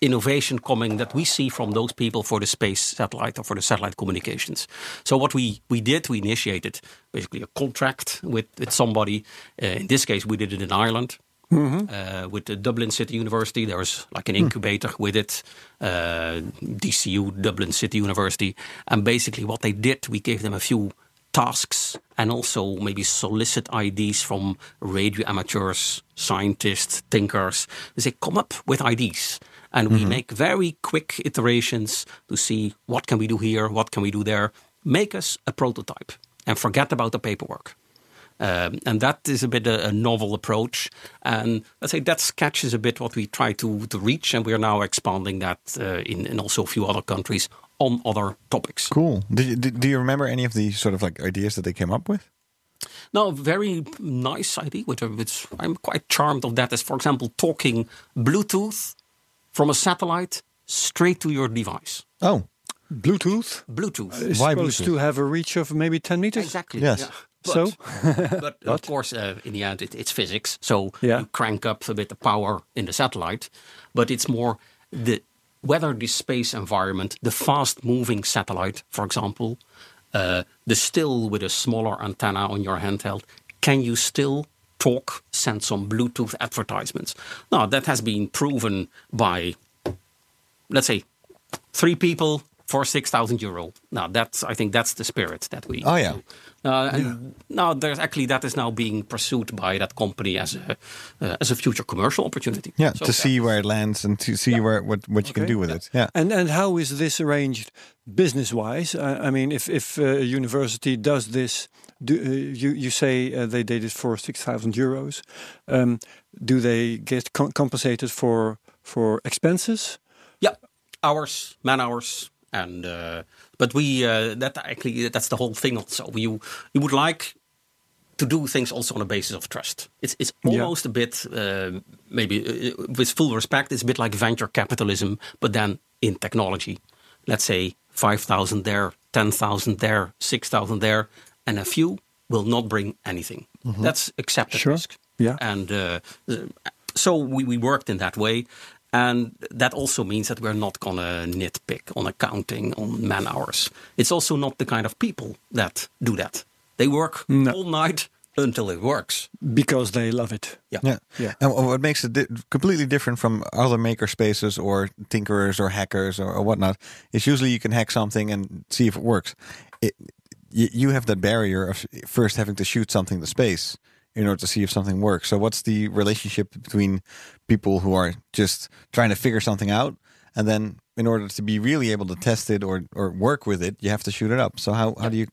Speaker 3: innovation coming that we see from those people for the space satellite or for the satellite communications. So what we we did, we initiated basically a contract with with somebody. Uh, in this case, we did it in Ireland. Uh, with the Dublin City University, there was like an incubator with it, uh, DCU, Dublin City University. And basically, what they did, we gave them a few tasks and also maybe solicit ideas from radio amateurs, scientists, thinkers. They say, come up with ideas. And we make very quick iterations to see what can we do here, what can we do there. Make us a prototype and forget about the paperwork. Um, and that is a bit a, a novel approach. And let's say that sketches a bit what we try to, to reach. And we are now expanding that uh, in, in also a few other countries on other topics.
Speaker 2: Cool. Did you, did, do you remember any of the sort of like ideas that they came up with?
Speaker 3: No, very nice idea. Which, which I'm quite charmed of that. Is for example talking Bluetooth from a satellite straight to your device.
Speaker 2: Oh,
Speaker 1: Bluetooth
Speaker 3: Bluetooth.
Speaker 1: is
Speaker 2: Why
Speaker 1: supposed
Speaker 2: Bluetooth?
Speaker 1: to have a reach of maybe 10 meters.
Speaker 3: Exactly.
Speaker 2: Yes.
Speaker 3: yeah.
Speaker 1: So?
Speaker 3: but, but of course, uh, in the end, it, it's physics. So
Speaker 1: Yeah.
Speaker 3: you crank up a bit the power in the satellite, but it's more the whether the space environment, the fast-moving satellite, for example, uh, the still with a smaller antenna on your handheld, can you still talk, send some Bluetooth advertisements? Now that has been proven by, let's say, three people for six thousand euro. Now that's I think that's the spirit that we.
Speaker 2: Oh, yeah.
Speaker 3: do. Uh, and now there's actually that is now being pursued by that company as a uh, as a future commercial opportunity.
Speaker 2: yeah.
Speaker 3: So,
Speaker 2: to see where it lands and to see where what what you can
Speaker 1: Okay.
Speaker 2: do with it. Yeah.
Speaker 1: And and how is this arranged business wise? I, I mean, if if uh, a university does this, do uh, you you say uh, they did it for six thousand euros? Um, do they get com- compensated for for expenses?
Speaker 3: Yeah, hours, man hours, and uh, but we uh, that actually that's the whole thing. Also, you you would like to do things also on a basis of trust. It's it's almost a bit uh, maybe uh, with full respect, it's a bit like venture capitalism, but then in technology. Let's say five thousand there, ten thousand there, six thousand there, and a few will not bring anything. That's
Speaker 1: Mm-hmm.
Speaker 3: accepted
Speaker 1: Sure.
Speaker 3: risk.
Speaker 1: Yeah.
Speaker 3: And uh, so we, we worked in that way. And that also means that we're not going to nitpick on accounting, on man hours. It's also not the kind of people that do that. They work all night until it works.
Speaker 1: Because they love it.
Speaker 2: Yeah. And wh- what makes it di- completely different from other maker spaces or tinkerers or hackers or, or whatnot is usually you can hack something and see if it works. It, you, you have that barrier of first having to shoot something to space in order to see if something works. So, what's the relationship between people who are just trying to figure something out and then in order to be really able to test it or, or work with it, you have to shoot it up? So, how, how do you.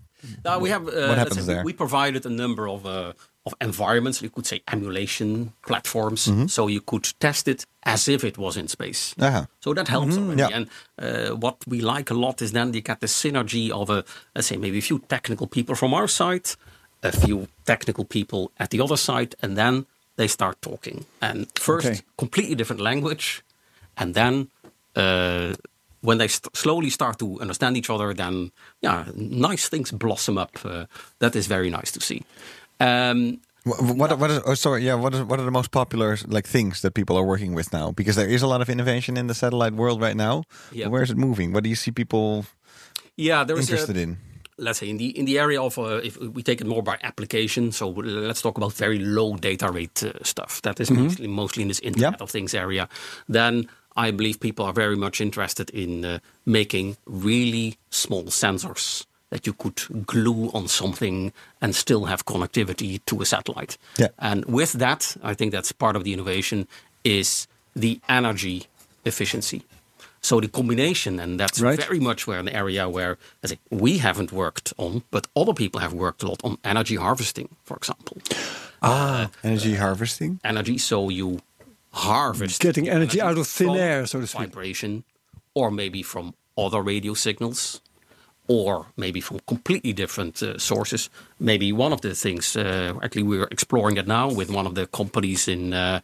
Speaker 3: Now we have uh, let's
Speaker 2: happens
Speaker 3: say we-
Speaker 2: there?
Speaker 3: We provided a number of uh, of environments. You could say emulation platforms, so you could test it as if it was in space.
Speaker 2: Mm-hmm. Uh-huh.
Speaker 3: So that helps already.
Speaker 2: yeah.
Speaker 3: And uh, what we like a lot is then you get the synergy of a let's say maybe a few technical people from our side, a few technical people at the other side, and then they start talking. And first,
Speaker 1: Okay.
Speaker 3: completely different language, and then. Uh, when they st- slowly start to understand each other, then yeah, nice things blossom up. Uh, that is very nice to see. Um,
Speaker 2: Wh- wh- What, what is, oh, sorry, yeah, what, is, what are the most popular like things that people are working with now? Because there is a lot of innovation in the satellite world right now.
Speaker 3: Yeah.
Speaker 2: Where is it moving? What do you see people
Speaker 3: yeah, there is
Speaker 2: interested
Speaker 3: a,
Speaker 2: in?
Speaker 3: let's say in the in the area of uh, if we take it more by application so let's talk about very low data rate uh, stuff that is mostly mostly in this internet
Speaker 2: Mm-hmm. Yeah.
Speaker 3: of things area then i believe people are very much interested in uh, making really small sensors that you could glue on something and still have connectivity to a satellite
Speaker 2: Yeah.
Speaker 3: and with that i think that's part of the innovation is the energy efficiency so the combination and that's
Speaker 1: Right.
Speaker 3: very much where an area where I say, we haven't worked on, but other people have worked a lot on energy harvesting, for example.
Speaker 2: Energy harvesting?
Speaker 3: Energy, so you harvest
Speaker 1: Getting energy out of thin
Speaker 3: from
Speaker 1: air, so to speak.
Speaker 3: Vibration, or maybe from other radio signals, or maybe from completely different uh, sources. Maybe one of the things, uh, actually, we're exploring it now with one of the companies in, uh,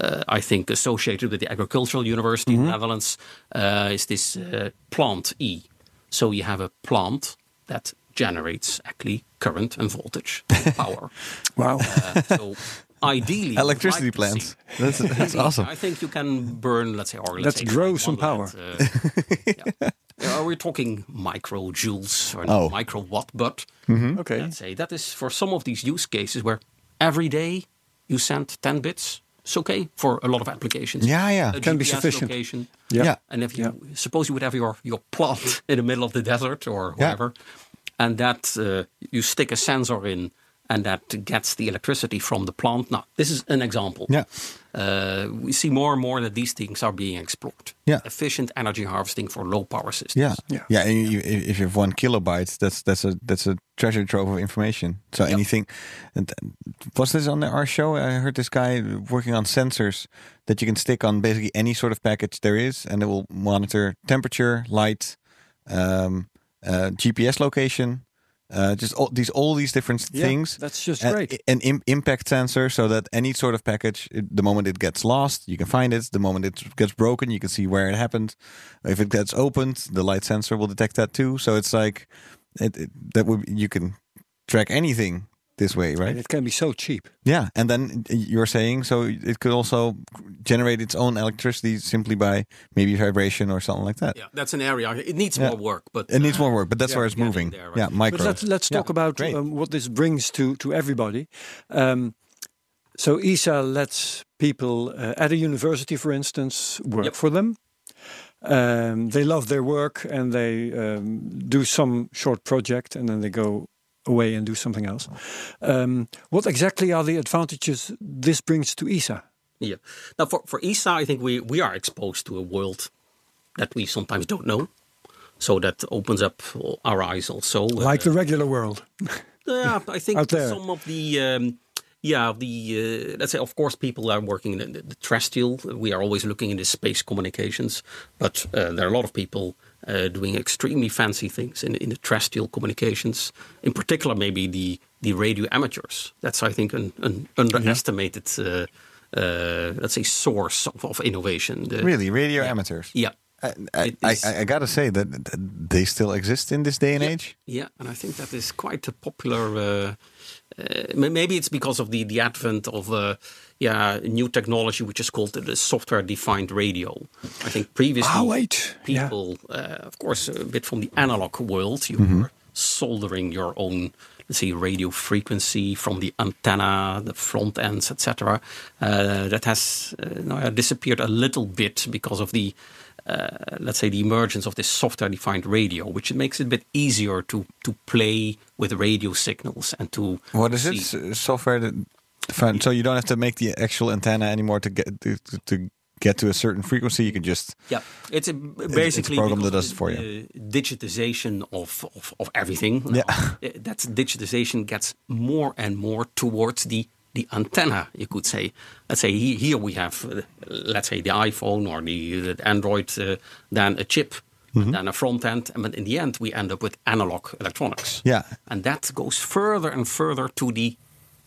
Speaker 3: uh, I think, associated with the Agricultural University
Speaker 1: Mm-hmm.
Speaker 3: in the Netherlands, uh, is this uh, plant E. So you have a plant that generates actually current and voltage and power.
Speaker 1: Wow.
Speaker 3: Uh, so ideally, I would
Speaker 2: Electricity
Speaker 3: like to
Speaker 2: plants.
Speaker 3: see-
Speaker 2: That's, that's awesome.
Speaker 3: I think you can burn, let's say, or let's
Speaker 1: Let's
Speaker 3: say
Speaker 1: grow
Speaker 3: like
Speaker 1: some
Speaker 3: one
Speaker 1: power.
Speaker 3: light, uh, yeah. Are we talking microjoules or
Speaker 2: Oh. Mm-hmm.
Speaker 3: micro watt? But
Speaker 1: okay.
Speaker 3: let's say that is for some of these use cases where every day you send 10 bits. It's okay for a lot of applications.
Speaker 2: Yeah, yeah.
Speaker 3: A
Speaker 1: Can be
Speaker 3: GPS
Speaker 1: sufficient.
Speaker 3: Location.
Speaker 1: Yeah.
Speaker 2: Yeah.
Speaker 3: And if you suppose you would have your, your plant in the middle of the desert or
Speaker 2: Yeah.
Speaker 3: wherever, and that uh, you stick a sensor in and that gets the electricity from the plant. Now, this is an example.
Speaker 2: Yeah.
Speaker 3: Uh, we see more and more that these things are being explored.
Speaker 2: Yeah.
Speaker 3: Efficient energy harvesting for low power systems.
Speaker 2: Yeah,
Speaker 1: Yeah.
Speaker 2: yeah. And you, if if you have one kilobyte, that's that's a that's a treasure trove of information. So anything, and was this on our show? I heard this guy working on sensors that you can stick on basically any sort of package there is, and it will monitor temperature, light, um, uh, GPS location, Uh, just all these all these different
Speaker 1: Yeah,
Speaker 2: things.
Speaker 1: that's just
Speaker 2: A-
Speaker 1: great.
Speaker 2: Uh, An im- impact sensor, so that any sort of package, it- the moment it gets lost, you can find it. The moment it gets broken, you can see where it happened. If it gets opened, the light sensor will detect that too. So it's like it, it, that would you can track anything this way, right?
Speaker 1: And it can be so cheap.
Speaker 2: Yeah, and then you're saying so it could also generate its own electricity simply by maybe vibration or something like that.
Speaker 3: Yeah, that's an area. It needs more work, but
Speaker 2: It needs more work, but that's where it's
Speaker 3: getting
Speaker 2: moving.
Speaker 3: there, right.
Speaker 2: Yeah,
Speaker 1: But
Speaker 2: micro.
Speaker 1: let's, let's talk about
Speaker 2: great.
Speaker 1: um, what this brings to, to everybody. Um, so ESA lets people uh, at a university, for instance, work
Speaker 3: Yep.
Speaker 1: for them. Um, they love their work and they um, do some short project and then they go away and do something else. Um, what exactly are the advantages this brings to ESA?
Speaker 3: Yeah. Now, for, for ESA, I think we, we are exposed to a world that we sometimes don't know. So that opens up our eyes also.
Speaker 4: Like the regular world.
Speaker 3: Yeah, I think
Speaker 4: Out there.
Speaker 3: some of the um, yeah of the uh, let's say of course people are working in the, the terrestrial. We are always looking into space communications, but uh, there are a lot of people uh, doing extremely fancy things in, in the terrestrial communications. In particular, maybe the the radio amateurs. That's I think an, an underestimated. Uh, uh, let's say source of, of innovation. The-
Speaker 2: really, radio amateurs.
Speaker 3: Yeah.
Speaker 2: I, I,
Speaker 3: It
Speaker 2: I,
Speaker 3: is-
Speaker 2: I gotta say that that they still exist in this day and age.
Speaker 3: Yeah, and I think that is quite a popular. Uh, uh, may- maybe it's because of the the advent of uh, yeah new technology, which is called the, software defined radio. I think previously,
Speaker 1: Ah, wait, yeah.
Speaker 3: people, uh, of course, a bit from the analog world, you
Speaker 2: Mm-hmm.
Speaker 3: were soldering your own. Let's say radio frequency from the antenna, the front ends, etc. Uh, that has uh, now, uh, disappeared a little bit because of the uh, let's say the emergence of this software-defined radio, which it makes it a bit easier to to play with radio signals and to
Speaker 2: What is it?
Speaker 3: see-
Speaker 2: S- Software that found, so you don't have to make the actual antenna anymore to get to, to- to get to a certain frequency. You can just
Speaker 3: Yeah, it's a, basically
Speaker 2: program that
Speaker 3: because
Speaker 2: does it for you.
Speaker 3: the Digitization of, of, of everything.
Speaker 2: Yeah.
Speaker 3: Uh, that's digitization gets more and more towards the the antenna. You could say, let's say he- here we have, uh, let's say the iPhone or the, the Android, uh, then a chip,
Speaker 2: Mm-hmm.
Speaker 3: and then a front end, and but in the end we end up with analog electronics.
Speaker 2: Yeah.
Speaker 3: and that goes further and further to the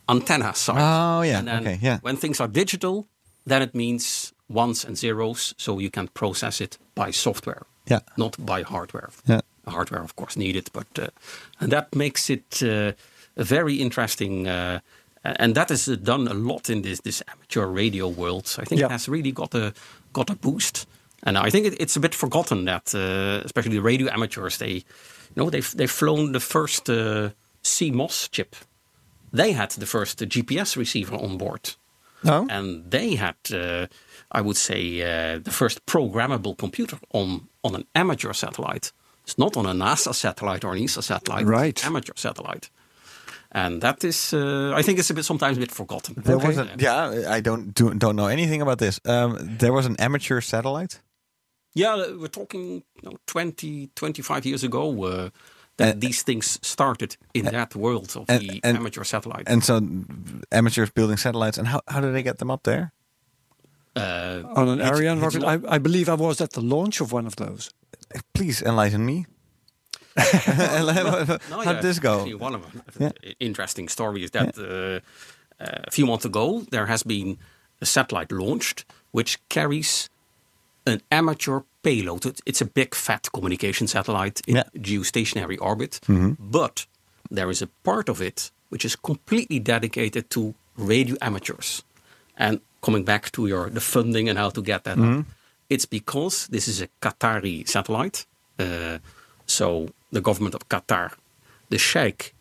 Speaker 3: antenna side.
Speaker 2: Oh, yeah.
Speaker 3: And then
Speaker 2: Okay, yeah.
Speaker 3: When things are digital, then it means ones and zeros, so you can process it by software,
Speaker 2: Yeah.
Speaker 3: not by hardware.
Speaker 2: Yeah.
Speaker 3: Hardware, of course, needed, but uh, and that makes it uh, a very interesting. Uh, and that is uh, done a lot in this this amateur radio world. So I think
Speaker 1: Yeah.
Speaker 3: it has really got a got a boost. And I think it, it's a bit forgotten that, uh, especially the radio amateurs, they, you know, they've they've flown the first uh, CMOS chip. They had the first uh, GPS receiver on board.
Speaker 2: no.
Speaker 3: And they had, uh, I would say, uh, the first programmable computer on, on an amateur satellite. It's not on a NASA satellite or an ESA satellite. it's an
Speaker 1: Right.
Speaker 3: amateur satellite. And that is, uh, I think it's a bit sometimes a bit forgotten.
Speaker 2: There was a, yeah, I don't do, don't know anything about this. Um, there was an amateur satellite.
Speaker 3: Yeah, uh, we're talking you know, 20, 25 years ago uh, that these things started in that world of
Speaker 2: and-
Speaker 3: the
Speaker 2: and-
Speaker 3: amateur satellite.
Speaker 2: And so amateurs building satellites. And how, how do they get them up there?
Speaker 3: uh,
Speaker 1: On an Ariane
Speaker 3: it's
Speaker 1: rocket, I, I believe I was at the launch of one of those.
Speaker 2: Please enlighten me. How
Speaker 3: No,
Speaker 2: would
Speaker 3: yeah,
Speaker 2: this go?
Speaker 3: actually One of them. interesting story is that uh, uh, a few months ago there has been a satellite launched which carries an amateur payload. It- It's a big fat communication satellite in
Speaker 2: Yeah. Mm-hmm.
Speaker 3: geostationary orbit, but there is a part of it which is completely dedicated to radio amateurs. And coming back to your the funding and how to get that,
Speaker 2: Mm-hmm.
Speaker 3: up, it's because this is a Qatari satellite. Uh, so the government of Qatar, the sheikh,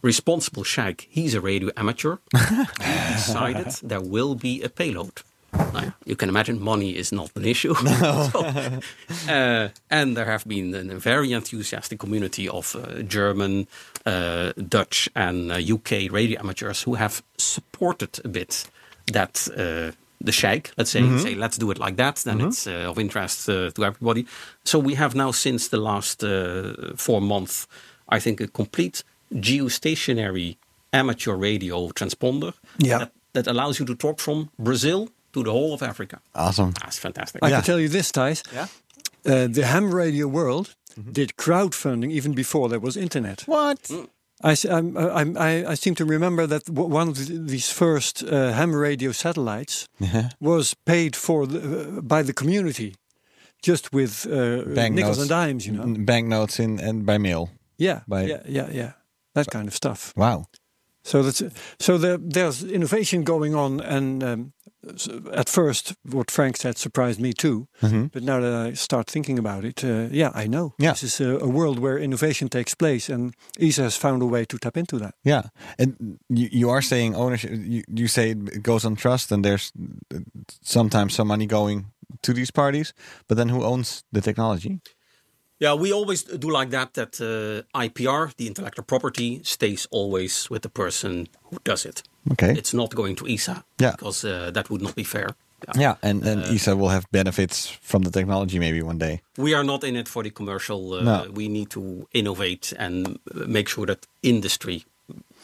Speaker 3: responsible sheikh, he's a radio amateur. he decided there will be a payload. Now, you can imagine money is not an issue. So, uh, and there have been a very enthusiastic community of uh, German, uh, Dutch, and uh, UK radio amateurs who have supported a bit that uh, the sheikh, let's say, say, let's do it like that, then it's uh, of interest uh, to everybody. So we have now, since the last uh, four months, I think a complete geostationary amateur radio transponder
Speaker 1: Yeah.
Speaker 3: that, that allows you to talk from Brazil to the whole of Africa.
Speaker 2: Awesome.
Speaker 3: That's fantastic.
Speaker 1: I can tell you this, Thijs. Uh, the ham radio world did crowdfunding even before there was internet.
Speaker 2: What?
Speaker 1: I, s- I'm- I'm- I, I seem to remember that w- one of th- these first uh, ham radio satellites was paid for the, uh, by the community, just with uh, nickels and dimes, you know.
Speaker 2: N- Banknotes in and by mail.
Speaker 1: Yeah,
Speaker 2: Mm-hmm. by-
Speaker 1: yeah, yeah, yeah. That kind of stuff.
Speaker 2: Wow.
Speaker 1: So that's so there, there's innovation going on, and um, s- at first, what Frank said surprised me too. But now that I start thinking about it, uh, yeah, I know
Speaker 2: Yeah.
Speaker 1: this is a, a world where innovation takes place, and ESA has found a way to tap into that.
Speaker 2: Yeah, and you, you are saying ownership. You, you say it goes on trust, and there's sometimes some money going to these parties. But then, who owns the technology?
Speaker 3: Yeah, we always do like that. That uh, IPR, the intellectual property, stays always with the person who does it.
Speaker 2: Okay.
Speaker 3: It's not going to ESA.
Speaker 2: Yeah.
Speaker 3: Because uh, that would not be fair.
Speaker 2: yeah, and and ESA will have benefits from the technology maybe one day.
Speaker 3: We are not in it for the commercial. Uh,
Speaker 2: No.
Speaker 3: We need to innovate and uh, make sure that industry,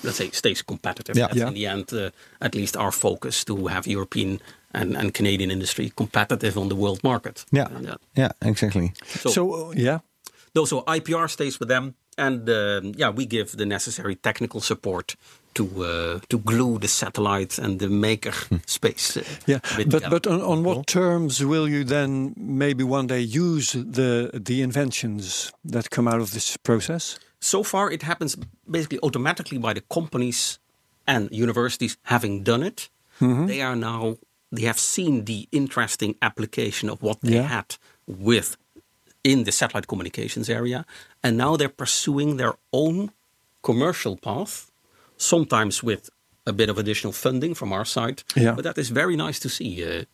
Speaker 3: let's say, stays competitive.
Speaker 2: Yeah.
Speaker 3: That's
Speaker 2: Yeah.
Speaker 3: In the end, uh, at least our focus to have European and, and Canadian industry competitive on the world market.
Speaker 2: Yeah,
Speaker 3: And, uh,
Speaker 2: yeah, exactly.
Speaker 3: So,
Speaker 1: So uh, yeah,
Speaker 3: no, so IPR stays with them, and um yeah, we give the necessary technical support to uh, to glue the satellite and the maker
Speaker 2: Hmm.
Speaker 3: space. Uh,
Speaker 1: yeah.
Speaker 3: a bit
Speaker 1: But
Speaker 3: together.
Speaker 1: but on, on what terms will you then maybe one day use the the inventions that come out of this process?
Speaker 3: so far it happens basically automatically by the companies and universities having done it.
Speaker 1: Mm-hmm.
Speaker 3: They are now they have seen the interesting application of what they
Speaker 1: Yeah.
Speaker 3: had with in the satellite communications area, and now they're pursuing their own commercial path, sometimes with a bit of additional funding from our side.
Speaker 1: Yeah.
Speaker 3: But that is very nice to see. Uh,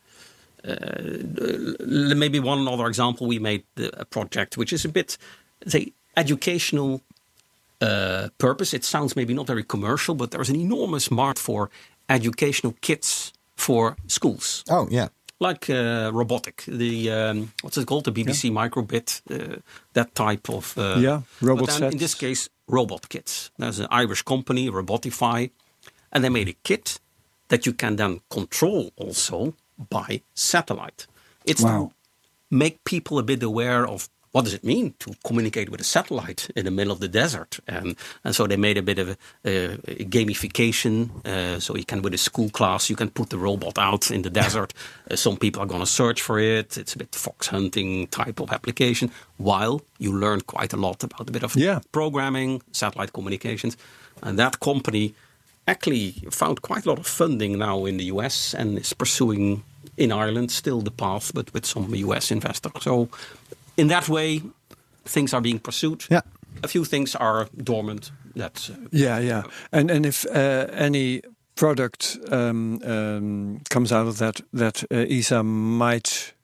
Speaker 3: l- maybe one other example we made the, a project which is a bit say educational uh, purpose it sounds maybe not very commercial but there's an enormous market for educational kits for schools
Speaker 2: Oh yeah,
Speaker 3: like uh, robotic the um, what's it called the bbc microbit uh, that type of uh,
Speaker 1: Yeah, robot
Speaker 3: but then in
Speaker 1: sets.
Speaker 3: this case robot kits there's an irish company robotify and they made a kit that you can then control also by satellite it's
Speaker 1: Wow.
Speaker 3: to make people a bit aware of what does it mean to communicate with a satellite in the middle of the desert and, and so they made a bit of a, a, a gamification uh, so you can with a school class you can put the robot out in the desert Uh, some people are going to search for it it's a bit fox hunting type of application while you learn quite a lot about a bit of
Speaker 1: Yeah.
Speaker 3: programming satellite communications and that company actually found quite a lot of funding now in the US and is pursuing in Ireland still the path, but with some US investor. So, in that way, things are being pursued.
Speaker 2: Yeah.
Speaker 3: A few things are dormant. That's uh,
Speaker 1: Yeah, yeah. And and if uh, any product um, um, comes out of that that uh, ESA might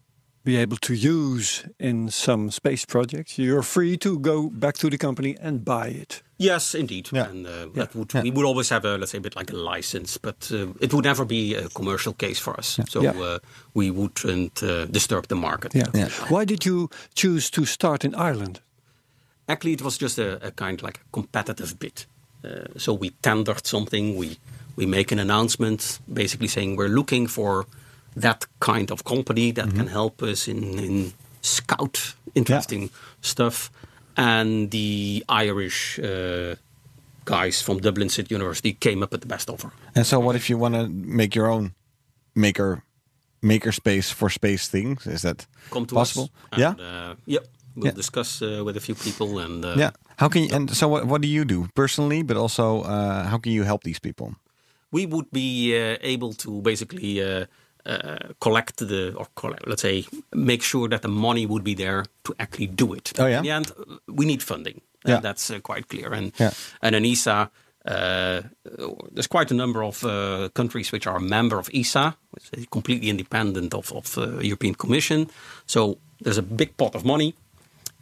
Speaker 1: be able to use in some space projects, you're free to go back to the company and buy it.
Speaker 3: yes, indeed.
Speaker 2: Yeah.
Speaker 3: And uh,
Speaker 2: Yeah.
Speaker 3: that would
Speaker 2: Yeah.
Speaker 3: we would always have a let's say a bit like a license, but uh, it would never be a commercial case for us. So
Speaker 1: Yeah.
Speaker 3: Uh, we wouldn't uh, disturb the market.
Speaker 2: Yeah.
Speaker 1: Why did you choose to start in Ireland?
Speaker 3: Actually, it was just a, a kind like competitive bid. Uh, so we tendered something. We we make an announcement, basically saying we're looking for that kind of company that
Speaker 2: Mm-hmm.
Speaker 3: can help us in, in scout interesting stuff. And the Irish uh, guys from Dublin City University came up with the best offer.
Speaker 2: and so what if you want to make your own maker maker space for space things? Is that
Speaker 3: Come to
Speaker 2: possible?
Speaker 3: us.
Speaker 2: yeah,
Speaker 3: And, uh, yep. We'll
Speaker 2: Yeah.
Speaker 3: discuss uh, with a few people and uh,
Speaker 2: yeah. How can you? And so what? What do you do personally? But also, uh, how can you help these people?
Speaker 3: we would be uh, able to basically uh, uh, collect the or collect, let's say make sure that the money would be there to actually do it.
Speaker 2: Oh, yeah?
Speaker 3: In the end, uh, we need funding. Uh,
Speaker 2: Yeah.
Speaker 3: that's uh, quite clear. And
Speaker 2: Yeah.
Speaker 3: and in ESA, uh, there's quite a number of uh, countries which are a member of ESA, which is completely independent of of uh, European Commission. So there's a big pot of money,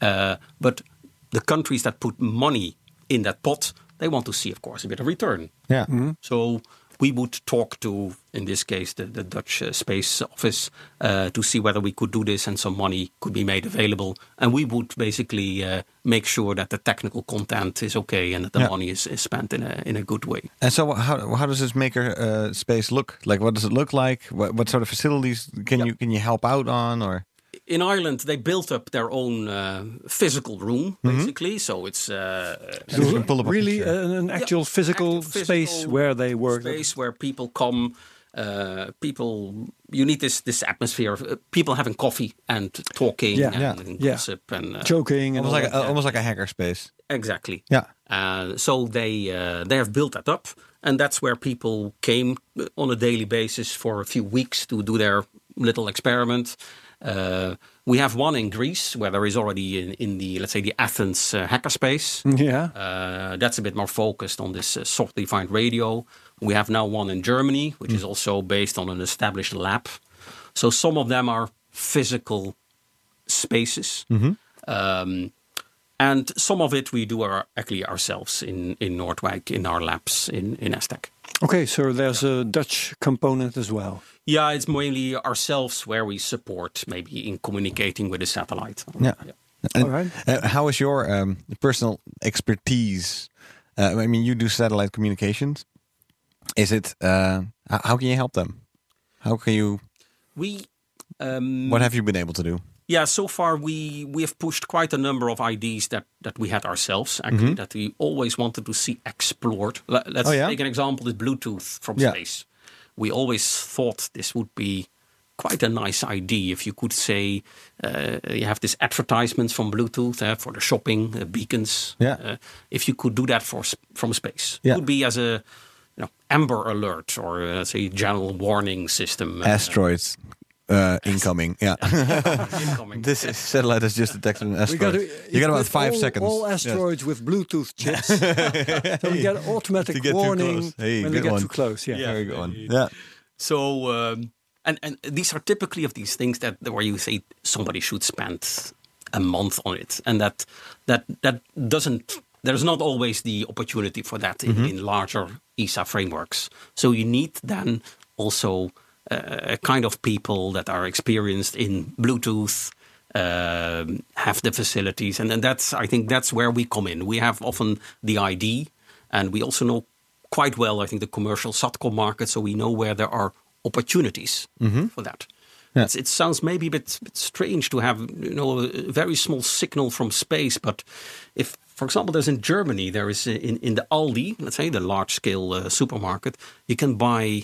Speaker 3: uh, but the countries that put money in that pot, they want to see, of course, a bit of return.
Speaker 2: Yeah.
Speaker 3: So we would talk to, in this case, the, the Dutch uh, Space Office uh, to see whether we could do this and some money could be made available. And we would basically uh, make sure that the technical content is okay and that the
Speaker 2: Yeah.
Speaker 3: money is, is spent in a, in a good way.
Speaker 2: And so, wh- how how does this maker uh, space look like? What does it look like? What, what sort of facilities can you can you help out on? Or
Speaker 3: in Ireland, they built up their own uh, physical room, basically. So it's uh,
Speaker 2: Mm-hmm. So uh, you can pull up a
Speaker 1: really uh,
Speaker 2: picture.
Speaker 1: an, an actual physical
Speaker 3: active
Speaker 1: space
Speaker 3: physical
Speaker 1: where they work.
Speaker 3: space where people come. Uh, people, you need this this atmosphere of uh, people having coffee and talking
Speaker 1: Yeah.
Speaker 3: and,
Speaker 2: Yeah.
Speaker 1: Yeah.
Speaker 3: gossip and uh,
Speaker 1: Joking and
Speaker 2: almost
Speaker 1: all
Speaker 2: like
Speaker 1: that.
Speaker 2: a, almost like a hacker space.
Speaker 3: exactly.
Speaker 2: Yeah.
Speaker 3: Uh, so they uh, they have built that up, and that's where people came uh, on a daily basis for a few weeks to do their little experiment. Uh, we have one in Greece where there is already in, in the let's say the Athens uh, hackerspace.
Speaker 2: oh.
Speaker 1: yeah.
Speaker 3: Uh, that's a bit more focused on this uh, soft-defined radio. We have now one in Germany, which is also based on an established lab. So some of them are physical spaces, um, and some of it we do our, actually ourselves in in Noordwijk in our labs in in Aztec.
Speaker 1: Okay, so there's a Dutch component as well.
Speaker 3: Yeah, it's mainly ourselves where we support, maybe in communicating with the satellite.
Speaker 2: Yeah. And,
Speaker 1: All right.
Speaker 2: uh, how is your um, personal expertise? Uh, I mean, you do satellite communications. Is it? Uh, h- how can you help them? How can you?
Speaker 3: We. Um,
Speaker 2: What have you been able to do?
Speaker 3: Yeah, so far we we have pushed quite a number of ideas that that we had ourselves actually that we always wanted to see explored. Let, let's
Speaker 2: Mm-hmm. Oh, yeah?
Speaker 3: take an example: the Bluetooth from
Speaker 2: Yeah.
Speaker 3: space. We always thought this would be quite a nice idea if you could say uh, you have these advertisements from Bluetooth uh, for the shopping uh, beacons.
Speaker 2: Yeah.
Speaker 3: Uh, if you could do that for sp- from space,
Speaker 2: Yeah.
Speaker 3: it would be as a you know, Amber Alert or uh, let's say general warning system. uh,
Speaker 2: Asteroids uh, incoming. Yeah.
Speaker 3: incoming.
Speaker 2: this is- satellite has just detected an asteroid. you got about
Speaker 1: equip
Speaker 2: five
Speaker 1: e- all-
Speaker 2: seconds.
Speaker 1: All
Speaker 2: Yes.
Speaker 1: asteroids with Bluetooth chips, so we get automatic
Speaker 2: To get too
Speaker 1: warning
Speaker 2: close. Hey,
Speaker 1: when they
Speaker 2: good
Speaker 1: get
Speaker 2: one.
Speaker 1: too close. Yeah.
Speaker 2: Very good one. Yeah.
Speaker 3: So um, and and these are typically of these things that where you say somebody should spend a month on it, and that that that doesn't. There's not always the opportunity for that in, in larger ESA frameworks. So you need then also uh, a kind of people that are experienced in Bluetooth, um, have the facilities, and, and that's I think that's where we come in. We have often the ID, and we also know quite well, I think, the commercial satcom market, so we know where there are opportunities for that. It's, it sounds maybe a bit, bit strange to have you know a very small signal from space, but if, for example, there's in Germany, there is in, in the Aldi, let's say the large scale uh, supermarket, you can buy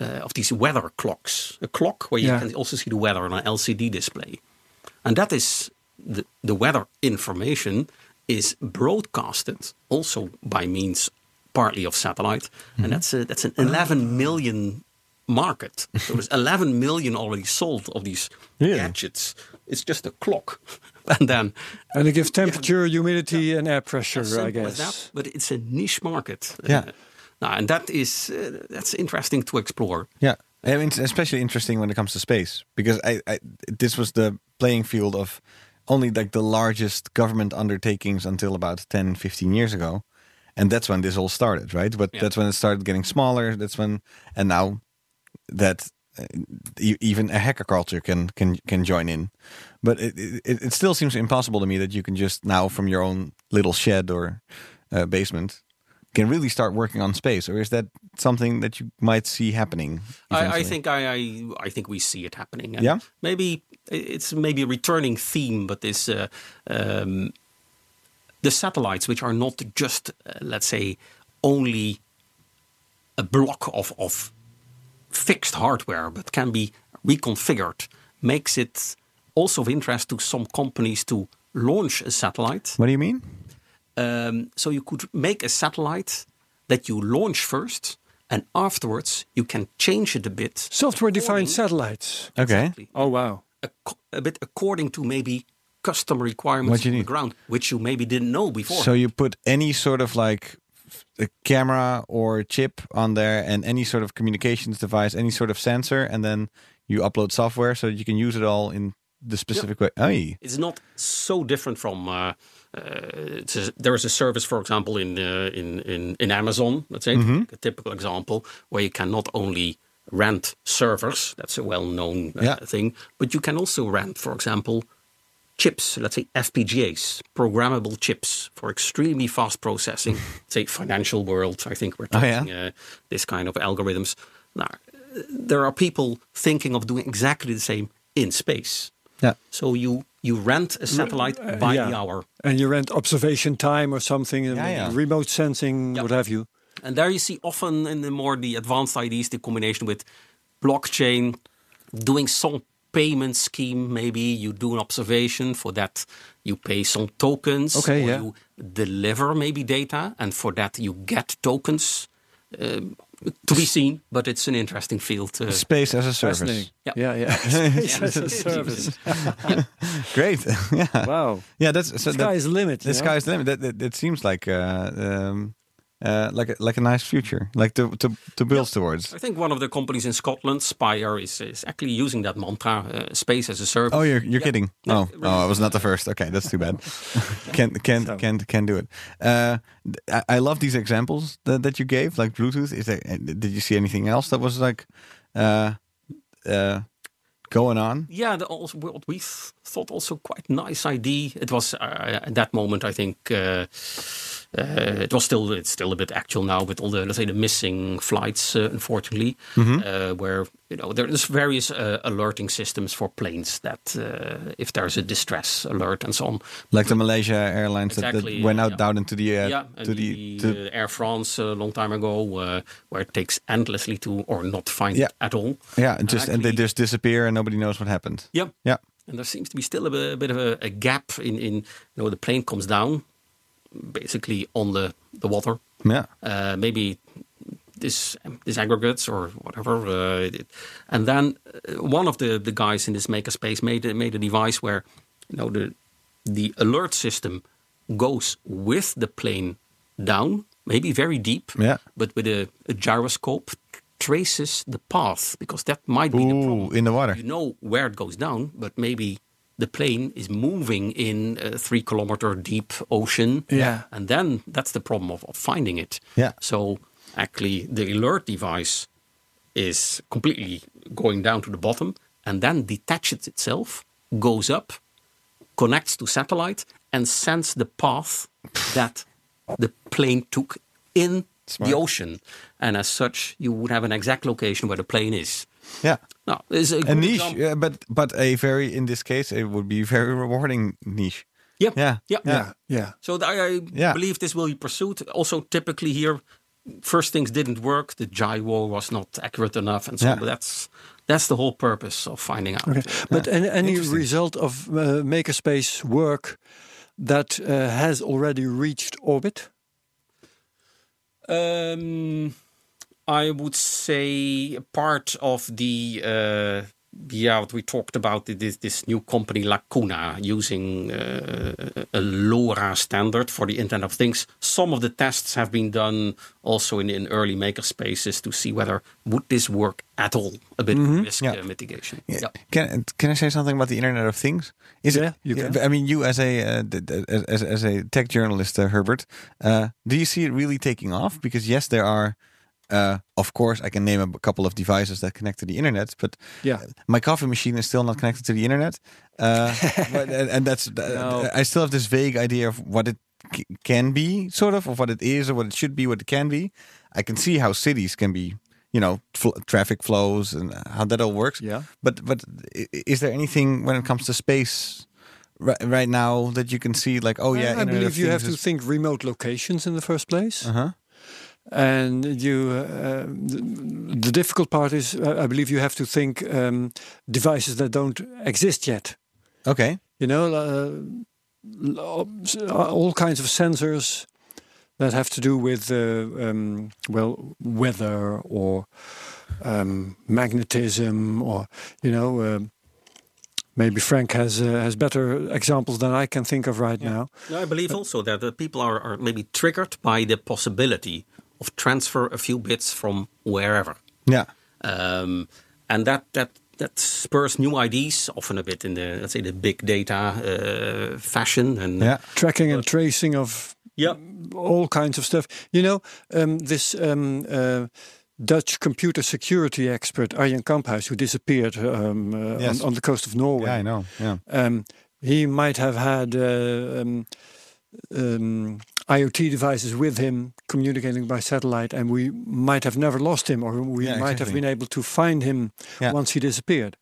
Speaker 3: uh, of these weather clocks, a clock where you
Speaker 1: Yeah.
Speaker 3: can also see the weather on an LCD display, and that is the, the weather information is broadcasted also by means partly of satellite,
Speaker 1: Mm-hmm.
Speaker 3: and that's a, that's an 11 million market. So there's 11 million already sold of these gadgets. It's just a clock, and then
Speaker 1: And it gives temperature, humidity, and air pressure.
Speaker 3: as
Speaker 1: I
Speaker 3: simple as
Speaker 1: guess.
Speaker 3: that, but it's a niche market.
Speaker 2: Yeah.
Speaker 3: Uh, now, and that is uh, that's interesting to explore.
Speaker 2: Yeah, I mean, it's especially interesting when it comes to space because I, I this was the playing field of only like the largest government undertakings until about 10, 15 years ago, and that's when this all started, right? But
Speaker 3: Yeah.
Speaker 2: that's when it started getting smaller. That's when, and now that uh, e- even a hacker culture can can can join in, but it, it it still seems impossible to me that you can just now from your own little shed or uh, basement. Can really start working on space, or is that something that you might see happening?
Speaker 3: I, I
Speaker 2: eventually?
Speaker 3: think I, I I think we see it happening. And
Speaker 2: Yeah?
Speaker 3: Maybe it's maybe a returning theme, but this uh, um, the satellites, which are not just uh, let's say only a block of of fixed hardware, but can be reconfigured, makes it also of interest to some companies to launch a satellite.
Speaker 2: What do you mean?
Speaker 3: Um, so you could make a satellite that you launch first, and afterwards you can change it a bit.
Speaker 1: Software-defined
Speaker 3: According-
Speaker 1: satellites.
Speaker 2: Okay.
Speaker 3: Exactly.
Speaker 1: Oh wow.
Speaker 3: Ac- a bit according to maybe custom requirements
Speaker 2: What you
Speaker 3: on the
Speaker 2: need.
Speaker 3: ground, which you maybe didn't know before.
Speaker 2: So you put any sort of like f- a camera or chip on there and any sort of communications device, any sort of sensor, and then you upload software so that you can use it all in the specific way. Oei.
Speaker 3: it's not so different from. Uh, uh, it's a- there is a service, for example, in uh, in, in in Amazon. Let's say
Speaker 2: Mm-hmm.
Speaker 3: a typical example where you can not only rent servers. That's a well-known uh,
Speaker 2: Yeah.
Speaker 3: thing, but you can also rent, for example, chips. Let's say FPGAs, programmable chips for extremely fast processing. say financial world. I think we're
Speaker 2: Oh, yeah?
Speaker 3: talking uh, this kind of uh, algorithms. Now, there are people thinking of doing exactly the same in space.
Speaker 2: Yeah.
Speaker 3: So you you rent a satellite
Speaker 1: uh,
Speaker 3: by
Speaker 1: yeah.
Speaker 3: the hour.
Speaker 1: And you rent observation time or something, and
Speaker 2: yeah.
Speaker 1: remote sensing,
Speaker 3: Yeah.
Speaker 1: what have you.
Speaker 3: And there you see often in the more the advanced ideas the combination with blockchain, doing some payment scheme. Maybe you do an observation for that, you pay some tokens,
Speaker 1: Okay,
Speaker 3: or
Speaker 1: yeah.
Speaker 3: you deliver maybe data, and for that you get tokens. Um, to be seen, but it's an interesting field. Uh,
Speaker 2: Space as a service.
Speaker 1: Fascinating.
Speaker 3: Yeah.
Speaker 1: Yeah, yeah. Space as a service.
Speaker 2: Great. yeah.
Speaker 1: Wow.
Speaker 2: Yeah, that's so
Speaker 1: The
Speaker 2: that-
Speaker 1: sky's the limit.
Speaker 2: The
Speaker 1: you know?
Speaker 2: sky's the limit. That, that, that seems like uh, um, uh, like a, like a nice future, like to to to build towards.
Speaker 3: I think one of the companies in Scotland, Spire, is, is actually using that mantra, uh, space as a service.
Speaker 2: Oh, you're you're
Speaker 3: Yeah.
Speaker 2: kidding?
Speaker 3: No,
Speaker 2: oh,
Speaker 3: really.
Speaker 2: oh, I was not the first. Okay, that's too bad. can can
Speaker 1: So-
Speaker 2: can can do it. Uh, I, I love these examples that, that you gave, like Bluetooth. Is there, uh, did you see anything else that was like uh, uh, going on?
Speaker 3: Yeah, the, also, what we th- thought also quite nice idea. It was uh, at that moment, I think, uh, uh, it was still it's still a bit actual now with all the let's say the missing flights, uh, unfortunately,
Speaker 2: Mm-hmm.
Speaker 3: uh, where you know there's various uh, alerting systems for planes that uh, if there's a distress alert and so on.
Speaker 2: Like the Malaysia Airlines that,
Speaker 3: Exactly,
Speaker 2: that went
Speaker 3: yeah,
Speaker 2: out
Speaker 3: yeah.
Speaker 2: down into the uh,
Speaker 3: yeah,
Speaker 2: to
Speaker 3: and
Speaker 2: the,
Speaker 3: the,
Speaker 2: to,
Speaker 3: uh, Air France a long time ago, uh, where it takes endlessly to or not find
Speaker 2: Yeah.
Speaker 3: it at all.
Speaker 2: yeah, and just and they
Speaker 3: actually-
Speaker 2: just disappear and nobody knows what happened.
Speaker 3: Yeah,
Speaker 2: Yeah.
Speaker 3: And there seems to be still a, bit- a bit of a, a gap in, in you know, the plane comes down basically on the, the water.
Speaker 2: Yeah.
Speaker 3: Uh, maybe this disaggregates or whatever. Uh, it- and then uh, one of the, the guys in this makerspace made a- made a device where you know the the alert system goes with the plane down, maybe very deep,
Speaker 2: Yeah.
Speaker 3: but with a, a gyroscope traces the path because that might be the problem
Speaker 2: Ooh, in the water.
Speaker 3: you know where it goes down, but maybe the plane is moving in a three kilometer deep ocean.
Speaker 1: Yeah.
Speaker 3: And then that's the problem of, of finding it.
Speaker 2: Yeah.
Speaker 3: So actually, the alert device is completely going down to the bottom and then detaches itself, goes up, connects to satellite, and sends the path that the plane took in the ocean. And as such, you would have an exact location where the plane is.
Speaker 2: Yeah.
Speaker 3: Nou, is
Speaker 2: A niche, yeah, but but a very in this case it would be very rewarding niche.
Speaker 3: Yeah.
Speaker 2: Yeah.
Speaker 3: Yeah.
Speaker 2: Yeah.
Speaker 1: Yeah.
Speaker 3: So th- I, I
Speaker 2: Yeah.
Speaker 3: believe this will be pursued. Also, typically here, first things didn't work. The gyro was not accurate enough, and so
Speaker 2: Yeah.
Speaker 3: but that's that's the whole purpose of finding out.
Speaker 1: Okay. But any, any result of uh, makerspace work that uh, has already reached orbit?
Speaker 3: Um, I would say part of the uh, yeah what we talked about this this new company Lacuna using uh, a LoRa standard for the Internet of Things. Some of the tests have been done also in, in early maker spaces to see whether would this work at all. A bit of risk
Speaker 2: Mm-hmm. Yeah.
Speaker 3: uh, mitigation.
Speaker 2: Yeah.
Speaker 3: Yeah.
Speaker 2: Can can I say something about the Internet of Things? Is
Speaker 1: Yeah, you can.
Speaker 2: I mean, you as a uh, d- d- as, as- as a tech journalist, uh, Herbert, uh, do you see it really taking off? Because yes, there are. Uh, of course, I can name a couple of devices that connect to the internet, but
Speaker 1: Yeah.
Speaker 2: my coffee machine is still not connected to the internet, uh, but, and, and that's uh,
Speaker 1: No.
Speaker 2: I still have this vague idea of what it c- can be, sort of, of what it is, or what it should be, what it can be. I can see how cities can be, you know, fl- traffic flows and how that all works.
Speaker 1: Yeah.
Speaker 2: But but i- i- is there anything when it comes to space ri- right now that you can see like oh yeah
Speaker 1: I
Speaker 2: Internet of
Speaker 1: believe you
Speaker 2: Things
Speaker 1: have to
Speaker 2: is-
Speaker 1: think remote locations in the first place.
Speaker 2: Uh-huh.
Speaker 1: And you, uh, the, the difficult part is, uh, I believe you have to think um, devices that don't exist yet.
Speaker 2: okay
Speaker 1: You know, uh, l- s- all kinds of sensors that have to do with, uh, um, well, weather or um, magnetism, or you know, um maybe Frank has uh, has better examples than I can think of right now.
Speaker 3: No, I believe also that the people are, are maybe triggered by the possibility of transfer a few bits from wherever.
Speaker 2: yeah
Speaker 3: um, and that that that spurs new ideas, often a bit in the let's say the big data uh, fashion. And
Speaker 2: yeah
Speaker 1: Tracking and tracing of
Speaker 3: yeah,
Speaker 1: all kinds of stuff. You know, um, this um, uh, Dutch computer security expert Arjen Kamphuis, who disappeared um, uh,
Speaker 2: Yes.
Speaker 1: on, on the coast of Norway.
Speaker 2: yeah Uh, I know yeah
Speaker 1: um, he might have had uh, um, um, IoT devices with him communicating by satellite, and we might have never lost him, or we
Speaker 2: Yeah,
Speaker 1: might have
Speaker 2: exactly.
Speaker 1: been able to find him
Speaker 2: Yeah.
Speaker 1: once he disappeared.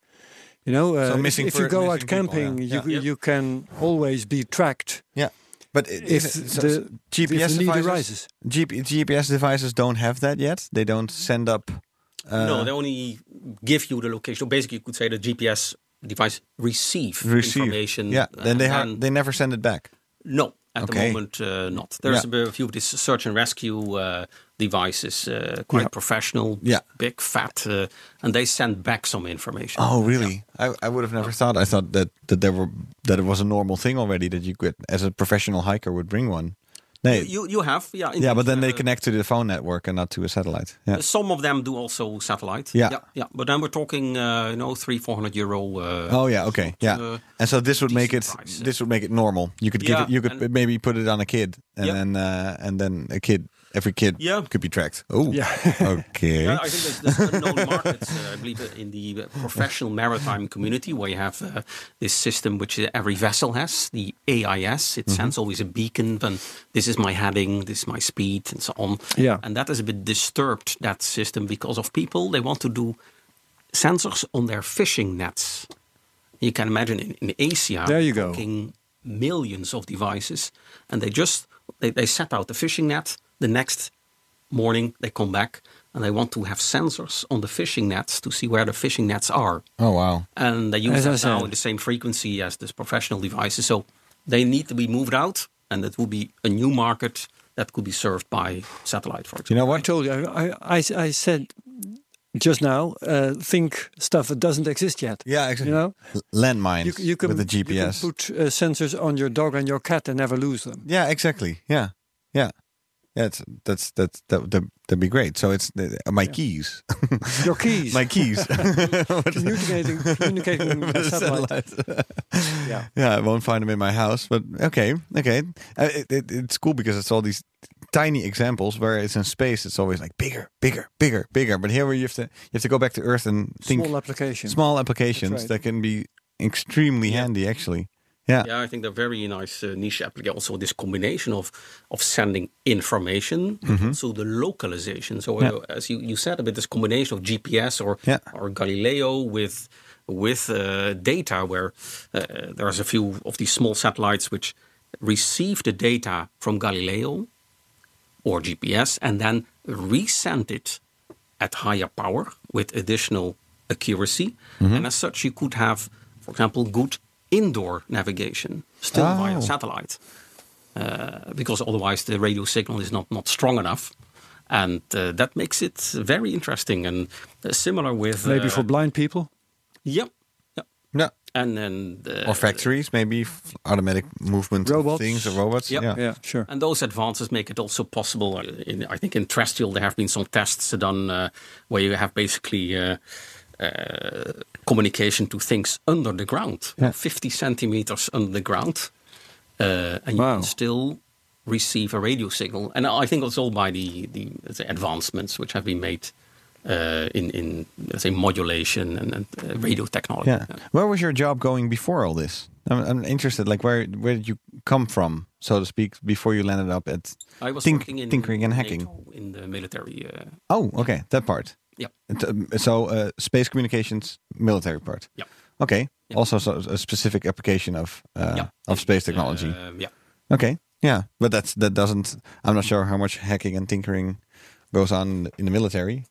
Speaker 1: You know, uh,
Speaker 2: So
Speaker 1: if-
Speaker 2: missing
Speaker 1: if,
Speaker 2: per-
Speaker 1: you go out
Speaker 2: missing people,
Speaker 1: camping,
Speaker 2: yeah.
Speaker 1: you
Speaker 2: Yeah.
Speaker 1: you can always be tracked
Speaker 2: Yeah, but i-
Speaker 1: if,
Speaker 2: so-
Speaker 1: the
Speaker 2: so
Speaker 1: if the
Speaker 2: GPS
Speaker 1: need
Speaker 2: devices,
Speaker 1: arises.
Speaker 2: GP, GPS devices don't have that yet. They don't send up. Uh,
Speaker 3: no, they only give you the location. So basically, you could say the GPS device receive,
Speaker 2: receive
Speaker 3: information.
Speaker 2: Yeah,
Speaker 3: uh,
Speaker 2: then they
Speaker 3: and
Speaker 2: ha- they never send it back.
Speaker 3: No, at
Speaker 2: Okay.
Speaker 3: the moment, uh, not. There's a bit- a few of these search and rescue uh, devices, uh, quite professional,
Speaker 2: Yeah.
Speaker 3: big, fat, uh, and they send back some information.
Speaker 2: Oh, really? I, I would have never thought. I thought that that there were that it was a normal thing already that you could, as a professional hiker, would bring one. No,
Speaker 3: You, you have, yeah.
Speaker 2: yeah,
Speaker 3: indeed,
Speaker 2: but then
Speaker 3: uh,
Speaker 2: they connect to the phone network and not to a satellite. Yeah.
Speaker 3: Some of them do also satellite.
Speaker 2: Yeah.
Speaker 3: yeah, But then we're talking, uh, you know, three, four hundred euro. Uh,
Speaker 2: Oh yeah, okay, yeah.
Speaker 3: uh,
Speaker 2: And so this would make it
Speaker 3: decent price, yeah.
Speaker 2: this would make it normal. You could give it,
Speaker 3: Yeah,
Speaker 2: you could
Speaker 3: and-
Speaker 2: maybe put it on a kid, and
Speaker 3: Yeah.
Speaker 2: then uh, and then a kid, every kid,
Speaker 3: Yeah.
Speaker 2: could be tracked. Oh,
Speaker 1: Yeah.
Speaker 2: okay.
Speaker 3: Yeah, I think there's, there's unknown markets, uh, I believe, uh, in the uh, professional maritime community where you have uh, this system which uh, every vessel has, the AIS. It
Speaker 2: Mm-hmm.
Speaker 3: sends always a beacon, and this is my heading, this is my speed, and so on.
Speaker 1: Yeah.
Speaker 3: And that is a bit disturbed, that system, because of people. They want to do sensors on their fishing nets. You can imagine in, in Asia,
Speaker 1: There you go.
Speaker 3: talking millions of devices, and they just they, they set out the fishing net. The next morning they come back and they want to have sensors on the fishing nets to see where the fishing nets are,
Speaker 2: Oh wow.
Speaker 3: and they use
Speaker 1: As I
Speaker 3: that now
Speaker 1: said.
Speaker 3: in the same frequency as these professional devices. So they need to be moved out, and it would be a new market that could be served by satellite, for
Speaker 2: You
Speaker 3: example.
Speaker 2: know
Speaker 1: I
Speaker 2: what?
Speaker 1: told you. I I, I said just now. Uh, think stuff that doesn't exist yet.
Speaker 2: Yeah, exactly.
Speaker 1: You know,
Speaker 2: landmines
Speaker 1: you, you can
Speaker 2: with the
Speaker 1: you can
Speaker 2: GPS.
Speaker 1: put uh, sensors on your dog and your cat and never lose them.
Speaker 2: Yeah, exactly. Yeah, yeah, yeah. It's, that's that's that that that'd be great. So it's the, my keys,
Speaker 1: Your keys.
Speaker 2: my keys.
Speaker 1: communicating communicating by satellite.
Speaker 2: yeah.
Speaker 1: Yeah.
Speaker 2: yeah, I won't find them in my house, but okay, okay. Uh, it, it, it's cool because it's all these tiny examples where it's in space. It's always like bigger, bigger, bigger, bigger. But here, where you have to you have to go back to Earth and think
Speaker 1: Small application.
Speaker 2: small applications
Speaker 1: right.
Speaker 2: that can be extremely handy, actually. Yeah,
Speaker 3: Yeah, I think they're very nice uh, niche application. Also, this combination of of sending information, but
Speaker 2: Mm-hmm.
Speaker 3: also the localization. So, uh, as you, you said, a bit this combination of GPS or
Speaker 2: Yeah.
Speaker 3: or Galileo with with uh, data, where uh, there's a few of these small satellites which receive the data from Galileo or GPS and then resend it at higher power with additional accuracy. And as such, you could have, for example, good indoor navigation still
Speaker 2: Oh.
Speaker 3: via satellite, uh, because otherwise the radio signal is not, not strong enough. And uh, that makes it very interesting and uh, similar with.
Speaker 1: Maybe
Speaker 3: uh,
Speaker 1: for blind people.
Speaker 3: Yep. yep.
Speaker 2: yeah.
Speaker 3: And then. Uh,
Speaker 2: Or factories, maybe f- automatic movement of
Speaker 1: Robots.
Speaker 2: things or robots.
Speaker 3: Yep.
Speaker 2: Yeah.
Speaker 1: Yeah, sure.
Speaker 3: And those advances make it also possible. uh, In, I think in terrestrial there have been some tests done uh, where you have basically uh, uh, communication to things under the ground,
Speaker 2: Yeah.
Speaker 3: 50 centimeters under the ground, uh, and you
Speaker 1: Wow.
Speaker 3: can still receive a radio signal. And I think it's all by the, the, the advancements which have been made. Uh, in in let's say modulation and, and uh, radio technology.
Speaker 2: Yeah. Where was your job going before all this? I'm, I'm interested. Like, where where did you come from, so to speak, before you landed up at
Speaker 3: I was
Speaker 2: Think-
Speaker 3: working in
Speaker 2: tinkering and hacking?
Speaker 3: NATO in the military. Uh,
Speaker 2: Oh, okay, that part.
Speaker 3: yeah,
Speaker 2: And, um, So, uh, space communications, military part.
Speaker 3: yeah,
Speaker 2: Okay.
Speaker 3: Yeah.
Speaker 2: Also, so, a specific application of uh,
Speaker 3: yeah.
Speaker 2: of space technology.
Speaker 3: Uh, yeah.
Speaker 2: okay. Yeah, but that's that doesn't. I'm not sure how much hacking and tinkering goes on in the military.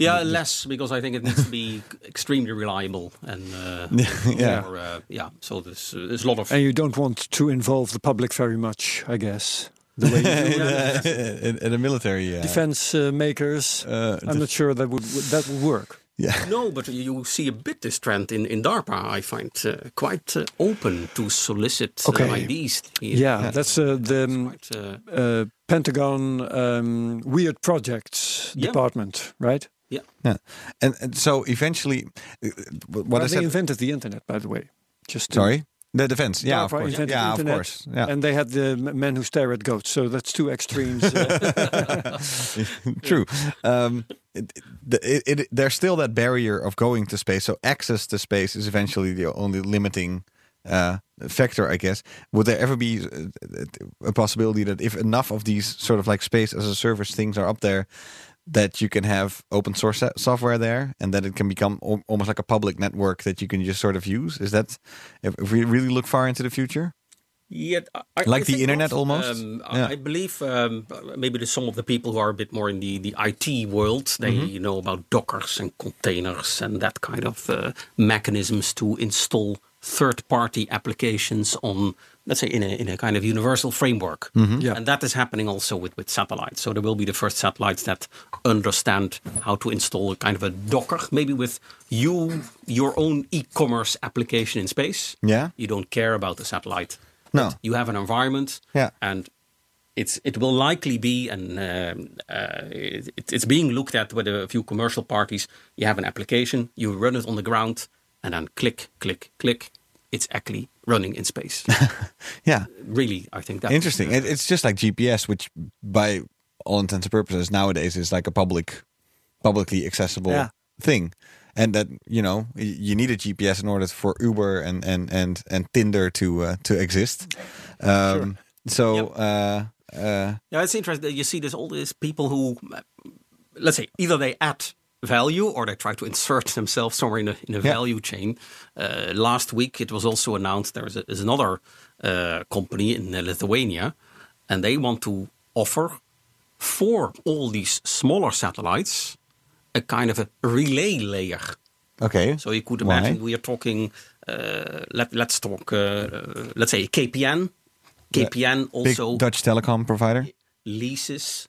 Speaker 3: Yeah, less because I think it needs to be extremely reliable and uh,
Speaker 2: yeah.
Speaker 3: more, uh, yeah. So there's uh, there's a lot of
Speaker 1: And you don't want to involve the public very much, I guess.
Speaker 2: in, uh, in, in the military. Uh,
Speaker 1: Defense uh, makers.
Speaker 2: uh,
Speaker 1: I'm not sure that would that would work.
Speaker 2: yeah.
Speaker 3: no, but you you see a bit this trend in in DARPA. I find uh, quite uh, open to solicit uh,
Speaker 1: Okay.
Speaker 3: IDs. here.
Speaker 1: Yeah, that's uh, the
Speaker 3: It's
Speaker 1: um,
Speaker 3: quite, uh,
Speaker 1: uh, Pentagon um, weird projects
Speaker 3: Yeah.
Speaker 1: department, right?
Speaker 3: yeah.
Speaker 2: Yeah, and, and so eventually, uh, what
Speaker 1: But
Speaker 2: I
Speaker 1: they
Speaker 2: said.
Speaker 1: invented the internet, by the way. Just to-
Speaker 2: Sorry, the defense. Yeah, of
Speaker 1: DARPA
Speaker 2: course.
Speaker 1: invented
Speaker 2: Yeah,
Speaker 1: the
Speaker 2: of
Speaker 1: internet,
Speaker 2: course. Yeah,
Speaker 1: And they had the m- men who stare at goats. So that's two extremes. uh,
Speaker 2: true. Um, it, it, it, it- there's still that barrier of going to space. So access to space is eventually the only limiting uh, factor, I guess. Would there ever be uh, a possibility that if enough of these sort of like space as a service things are up there, that you can have open source so- software there and that it can become al- almost like a public network that you can just sort of use? Is that if, if we really look far into the future?
Speaker 3: Yeah, I- I,
Speaker 2: Like the
Speaker 3: I think
Speaker 2: internet
Speaker 3: not.
Speaker 2: almost?
Speaker 3: Um,
Speaker 2: Yeah.
Speaker 3: I I believe um, maybe there's some of the people who are a bit more in the, the IT world. They
Speaker 2: Mm-hmm.
Speaker 3: know about Dockers and containers and that kind of uh, mechanisms to install third-party applications on, let's say, in a, in a kind of universal framework.
Speaker 2: Mm-hmm.
Speaker 1: Yeah.
Speaker 3: And that is happening also with, with satellites. So there will be the first satellites that understand how to install a kind of a Docker, maybe with you your own e-commerce application in space.
Speaker 2: Yeah.
Speaker 3: You don't care about the satellite.
Speaker 2: No.
Speaker 3: You have an environment.
Speaker 2: Yeah.
Speaker 3: And it's it will likely be, and um, uh, it, it's being looked at with a few commercial parties. You have an application, you run it on the ground, and then click, click, click. It's actually running in space.
Speaker 2: Yeah.
Speaker 3: really, I think that's
Speaker 2: Interesting. It, it's just like GPS, which by all intents and purposes nowadays is like a public, publicly accessible
Speaker 1: Yeah.
Speaker 2: thing, and that you know y- you need a GPS in order for Uber and and and and Tinder to uh, to exist. Um, So. Uh, uh,
Speaker 3: Yeah, it's interesting. that You see, there's all these people who, uh, let's say, either they add value or they try to insert themselves somewhere in a, in a
Speaker 2: Yeah.
Speaker 3: value chain. Uh, last week, it was also announced there is, a, is another uh, company in uh, Lithuania, and they want to offer for all these smaller satellites a kind of a relay layer.
Speaker 2: okay.
Speaker 3: So you could
Speaker 2: Why?
Speaker 3: imagine we are talking. Uh, let, let's talk. Uh, uh, let's say KPN. KPN
Speaker 2: Big
Speaker 3: also
Speaker 2: Dutch telecom provider.
Speaker 3: leases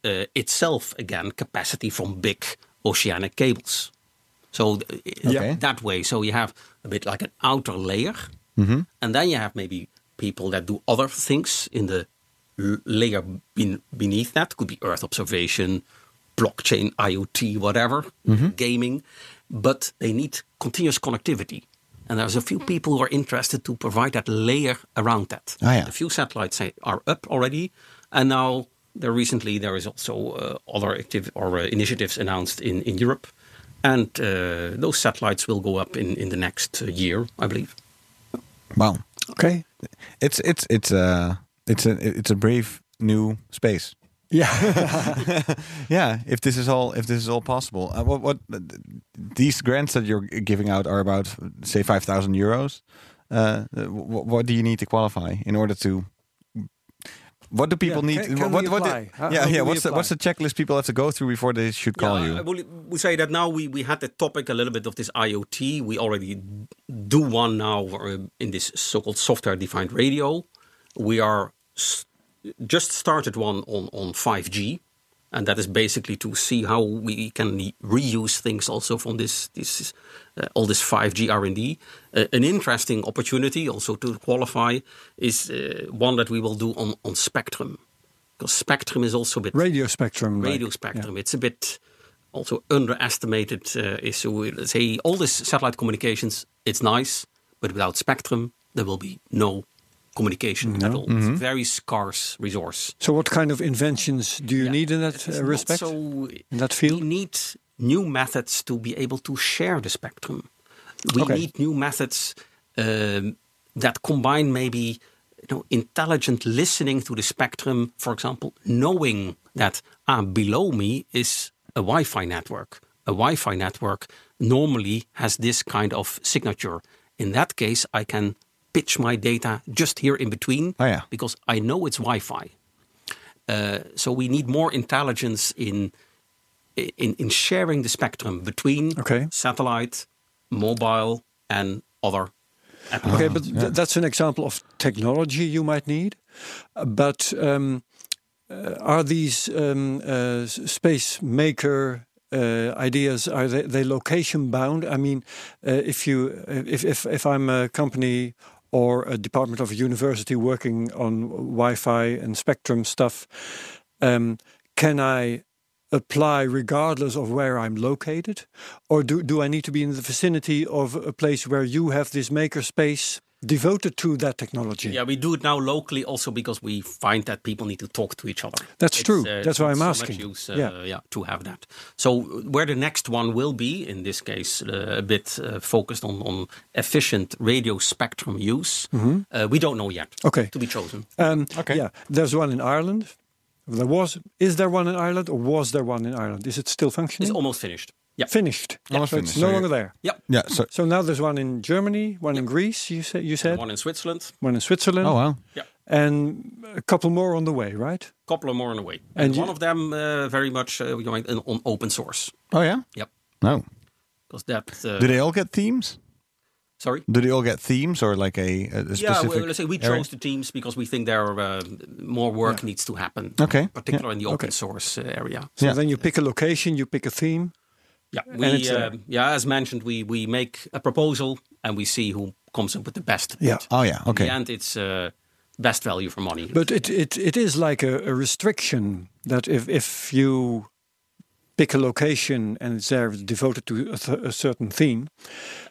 Speaker 3: uh, itself again capacity from big oceanic cables. So th- i-
Speaker 2: Okay.
Speaker 3: that way, so you have a bit like an outer layer, and then you have maybe people that do other things in the l- layer ben- beneath that. Could be Earth observation, blockchain, IoT, whatever, gaming, but they need continuous connectivity. And there's a few people who are interested to provide that layer around that.
Speaker 2: Ah, ja.
Speaker 3: A few satellites say, are up already, and now there recently there is also uh, other active or uh, initiatives announced in, in Europe, and uh, those satellites will go up in, in the next uh, year, I believe.
Speaker 2: Wow.
Speaker 1: Okay.
Speaker 2: It's it's it's uh it's a it's a brave new space.
Speaker 1: Yeah.
Speaker 2: Yeah, if this is all if this is all possible, uh, what what these grants that you're giving out are about, say five thousand euros. Uh, what, what do you need to qualify in order to? What do people
Speaker 1: Yeah,
Speaker 2: need?
Speaker 1: can- can
Speaker 2: what,
Speaker 1: we
Speaker 2: what do-
Speaker 1: apply? How-
Speaker 2: yeah,
Speaker 1: how
Speaker 2: yeah.
Speaker 1: do we
Speaker 2: What's the,
Speaker 1: apply?
Speaker 2: what's the checklist people have to go through before they should call
Speaker 3: yeah,
Speaker 2: you?
Speaker 3: I would, would say that now we, we had the topic a little bit of this IoT. We already do one now uh, in this so-called software-defined radio. We are s- just started one on, on 5G, and that is basically to see how we can reuse things also from this this uh, all this 5G R&D. Uh, an interesting opportunity also to qualify is uh, one that we will do on on Spectrum. Because Spectrum is also a bit
Speaker 1: Radio spectrum. like,
Speaker 3: radio spectrum. It's a bit also underestimated uh, issue. Let's Say all this satellite communications, it's nice, but without spectrum, there will be no communication at all. It's a
Speaker 1: Mm-hmm.
Speaker 3: very scarce resource.
Speaker 1: So, what kind of inventions do you
Speaker 3: Yeah,
Speaker 1: need in that
Speaker 3: It's
Speaker 1: uh,
Speaker 3: not
Speaker 1: respect?
Speaker 3: So
Speaker 1: in that
Speaker 3: we
Speaker 1: field?
Speaker 3: need new methods to be able to share the spectrum. We
Speaker 1: Okay.
Speaker 3: need new methods um, that combine maybe you know, intelligent listening to the spectrum, for example, knowing that ah, below me is a Wi Fi network. A Wi Fi network normally has this kind of signature. In that case, I can pitch my data just here in between
Speaker 2: Oh, yeah.
Speaker 3: because I know it's Wi Fi. Uh, so we need more intelligence in in, in sharing the spectrum between
Speaker 1: Okay.
Speaker 3: satellite, mobile, and other. applications.
Speaker 1: Okay, but th- that's an example of technology you might need. Uh, But um, uh, are these um, uh, s- space maker uh, ideas are they, they location bound? I mean, uh, if you if, if if I'm a company or a department of a university working on Wi-Fi and spectrum stuff, um, can I apply regardless of where I'm located? Or do, do I need to be in the vicinity of a place where you have this makerspace devoted to that technology?
Speaker 3: Yeah, we do it now locally also because we find that people need to talk to each other.
Speaker 1: That's true.
Speaker 3: uh,
Speaker 1: That's why
Speaker 3: not
Speaker 1: I'm
Speaker 3: so much
Speaker 1: asking.
Speaker 3: use, uh,
Speaker 1: Yeah.
Speaker 3: yeah. to have that. So where the next one will be, in this case, uh, a bit uh, focused on, on efficient radio spectrum use, uh, we don't know yet.
Speaker 1: Mm-hmm. Okay.
Speaker 3: To be chosen.
Speaker 1: Um, Yeah, there's one in Ireland There was is there one in Ireland or was there one in Ireland? Is it still
Speaker 3: It's
Speaker 2: Mm.
Speaker 1: functioning?
Speaker 3: almost finished. Yeah.
Speaker 1: finished.
Speaker 2: Almost
Speaker 1: so it's
Speaker 2: finished.
Speaker 1: no
Speaker 2: So
Speaker 1: longer there.
Speaker 3: Yep.
Speaker 2: Yeah. So,
Speaker 1: So now there's one in Germany, one in Greece. You said you said
Speaker 3: One in Switzerland.
Speaker 1: one in Switzerland,
Speaker 2: oh wow.
Speaker 3: Yeah.
Speaker 1: and a couple more on the way, right?
Speaker 3: Couple of more on the way.
Speaker 1: And
Speaker 3: And
Speaker 1: you-
Speaker 3: one of them uh, very much uh, going in- on open source.
Speaker 2: Oh yeah.
Speaker 3: Yep.
Speaker 2: No.
Speaker 3: Because that. Uh,
Speaker 2: Do they all get themes?
Speaker 3: sorry.
Speaker 2: Do they all get themes or like a, a a specific?
Speaker 3: Yeah, well, let's say we
Speaker 2: area?
Speaker 3: chose the teams because we think there are, uh, more work needs to happen,
Speaker 2: Okay.
Speaker 3: particularly in the open
Speaker 1: Okay.
Speaker 3: source uh, area.
Speaker 1: So
Speaker 2: Yeah.
Speaker 1: then you pick a location, you pick a theme.
Speaker 3: Yeah,
Speaker 1: it's
Speaker 3: we,
Speaker 2: uh,
Speaker 1: there.
Speaker 3: um yeah, as mentioned, we we make a proposal and we see who comes up with the best.
Speaker 1: Yeah.
Speaker 3: bid.
Speaker 2: Oh yeah. Okay.
Speaker 3: In the end, it's uh, best value for money.
Speaker 1: But it, it, it is like a, a restriction that if, if you pick a location and it's there devoted to a, th- a certain theme,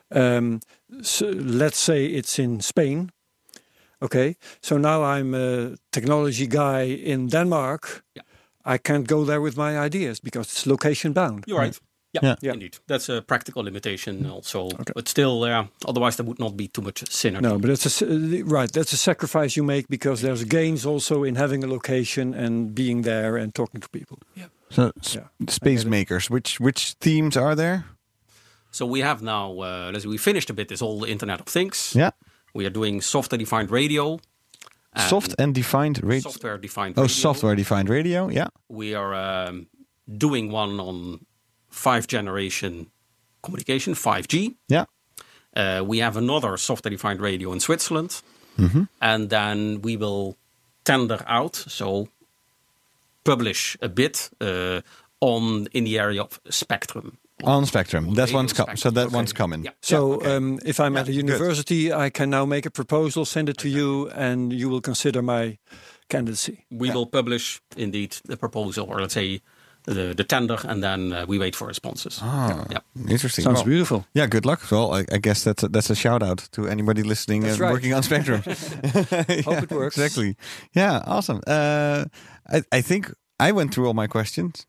Speaker 1: um, so let's say it's in Spain. Okay, so now I'm a technology guy in Denmark.
Speaker 3: Yeah.
Speaker 1: I can't go there with my ideas because it's location bound.
Speaker 3: You're right. Yeah,
Speaker 2: Yeah.
Speaker 1: Yeah.
Speaker 3: indeed. That's a practical limitation also. But still, uh, otherwise there would not be too much synergy.
Speaker 1: No, but that's a, s- right. That's a sacrifice you make because there's gains also in having a location and being there and talking to people.
Speaker 2: So s-
Speaker 1: Yeah,
Speaker 2: space makers. Which which themes are there?
Speaker 3: So we have now, uh, let's say we finished a bit this whole Internet of Things.
Speaker 2: Yeah.
Speaker 3: We are doing software-defined radio. and
Speaker 2: Soft and defined radio.
Speaker 3: Software-defined
Speaker 2: Oh,
Speaker 3: radio.
Speaker 2: software defined radio. Yeah.
Speaker 3: we are um, doing one on five generation communication, 5G.
Speaker 2: Yeah.
Speaker 3: Uh, we have another software defined radio in Switzerland.
Speaker 2: Mm-hmm.
Speaker 3: And then we will tender out, so publish a bit uh, on in the area of spectrum.
Speaker 2: On spectrum. That
Speaker 3: radio
Speaker 2: one's com- so
Speaker 3: spectrum.
Speaker 2: that one's coming.
Speaker 3: Yeah.
Speaker 1: So um, if I'm at a university, I can now make a proposal, send it to you, and you will consider my candidacy.
Speaker 3: We will publish indeed the proposal, or let's say the, the tender, and then uh, we wait for responses.
Speaker 2: Ah,
Speaker 3: Yeah.
Speaker 2: interesting.
Speaker 1: Sounds
Speaker 2: Well,
Speaker 1: beautiful.
Speaker 2: Yeah, good luck. Well, I, I guess that's a, that's a shout out to anybody listening
Speaker 1: That's
Speaker 2: and
Speaker 1: right.
Speaker 2: working on Spectrum.
Speaker 1: Hope it works.
Speaker 2: Exactly. Yeah, awesome. Uh, I, I think I went through all my questions.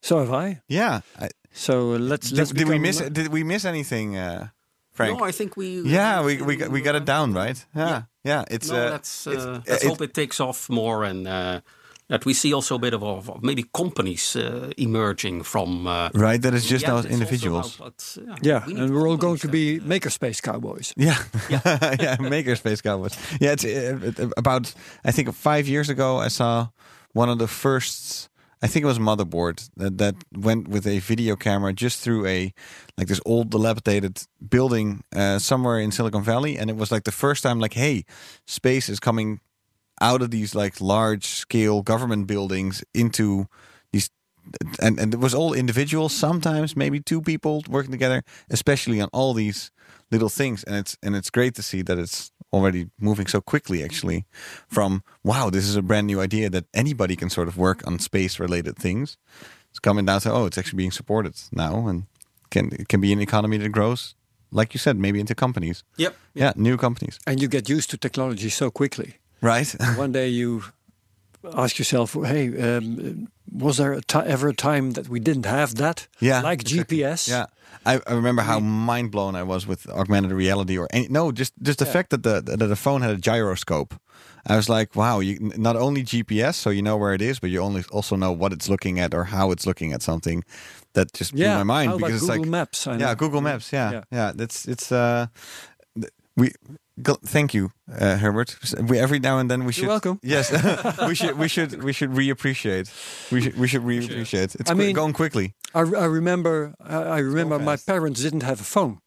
Speaker 1: So have I.
Speaker 2: Yeah. I,
Speaker 1: So uh, let's
Speaker 2: did,
Speaker 1: let's.
Speaker 2: did we
Speaker 1: become-
Speaker 2: miss did we miss anything, uh, Frank?
Speaker 3: No, I think we. uh,
Speaker 2: yeah, we we got, we got it down, right? Yeah. Yeah, it's
Speaker 3: No,
Speaker 2: uh,
Speaker 3: let's,
Speaker 2: it's-
Speaker 3: uh,
Speaker 2: uh,
Speaker 3: let's
Speaker 2: it-
Speaker 3: hope it takes off more and uh, that we see also a bit of, of maybe companies uh, emerging from. Uh,
Speaker 2: right that is just
Speaker 3: yeah,
Speaker 2: now
Speaker 3: it's also
Speaker 2: individuals.
Speaker 3: about,
Speaker 1: Yeah,
Speaker 3: we need
Speaker 1: and we're all going to
Speaker 3: companies,
Speaker 1: be makerspace cowboys.
Speaker 2: Yeah, yeah, Makerspace Cowboys. Yeah, it's uh, about I think five years ago I saw one of the first. I think it was motherboard that, that went with a video camera just through a like this old dilapidated building uh, somewhere in Silicon Valley, and it was like the first time like, hey, space is coming out of these like large scale government buildings into these and and it was all individuals sometimes maybe two people working together especially on all these little things and it's and it's great to see that it's already moving so quickly actually from wow this is a brand new idea that anybody can sort of work on space related things it's coming down to oh it's actually being supported now and can it can be an economy that grows like you said maybe into companies
Speaker 3: yeah. Yep.
Speaker 2: yeah new companies
Speaker 1: And you get used to technology so quickly.
Speaker 2: right
Speaker 1: One day you ask yourself, "Hey, um, was there a ti- ever a time that we didn't have that?
Speaker 2: Yeah,
Speaker 1: like
Speaker 2: exactly.
Speaker 1: GPS.
Speaker 2: Yeah, I, I remember how mind blown I was with augmented reality, or any, no, just just the fact that the that the phone had a gyroscope. I was like, wow, you n- not only GPS, so you know where it is, but you only also know what it's looking at or how it's looking at something. That just blew
Speaker 1: Yeah,
Speaker 2: my mind
Speaker 1: how about
Speaker 2: because it's
Speaker 1: Google
Speaker 2: like
Speaker 1: Maps? I
Speaker 2: yeah,
Speaker 1: know.
Speaker 2: Google Maps, yeah,
Speaker 1: Yeah.
Speaker 2: yeah, That's it's uh, th- we. go- Thank you, uh, Herbert. We every now and then we should.
Speaker 1: welcome.
Speaker 2: Yes, we should we should we should reappreciate. We should we should reappreciate. It's
Speaker 1: I
Speaker 2: qui-
Speaker 1: mean-
Speaker 2: going quickly.
Speaker 1: I, I remember. I, I remember my
Speaker 2: fast.
Speaker 1: parents didn't have a phone.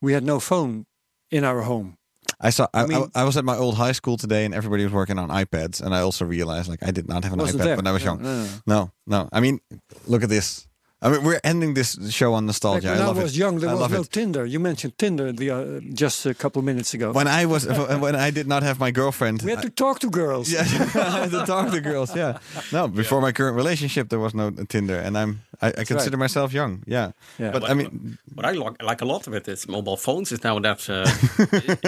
Speaker 1: We had no phone in our home.
Speaker 2: I saw. I, I,
Speaker 1: mean-
Speaker 2: I was at my old high school today, and everybody was working on iPads. And I also realized, like, I did not have an
Speaker 1: Wasn't
Speaker 2: iPad
Speaker 1: there.
Speaker 2: when I was
Speaker 1: No,
Speaker 2: young.
Speaker 1: no,
Speaker 2: No
Speaker 1: no.
Speaker 2: no. I mean, look at this. I mean, we're ending this show on nostalgia.
Speaker 1: Back when
Speaker 2: I
Speaker 1: I,
Speaker 2: love
Speaker 1: was
Speaker 2: it.
Speaker 1: young, there
Speaker 2: I
Speaker 1: was
Speaker 2: love
Speaker 1: no
Speaker 2: it.
Speaker 1: Tinder. You mentioned Tinder the, uh, just a couple minutes ago.
Speaker 2: When I was, when I did not have my girlfriend,
Speaker 1: we had to talk to girls.
Speaker 2: Yeah, I had to talk to girls. Yeah, no. Before my current relationship, there was no Tinder, and I'm I, I consider myself young. Yeah,
Speaker 1: Yeah.
Speaker 2: but I mean,
Speaker 3: What I like, like a lot of it is mobile phones is now that uh,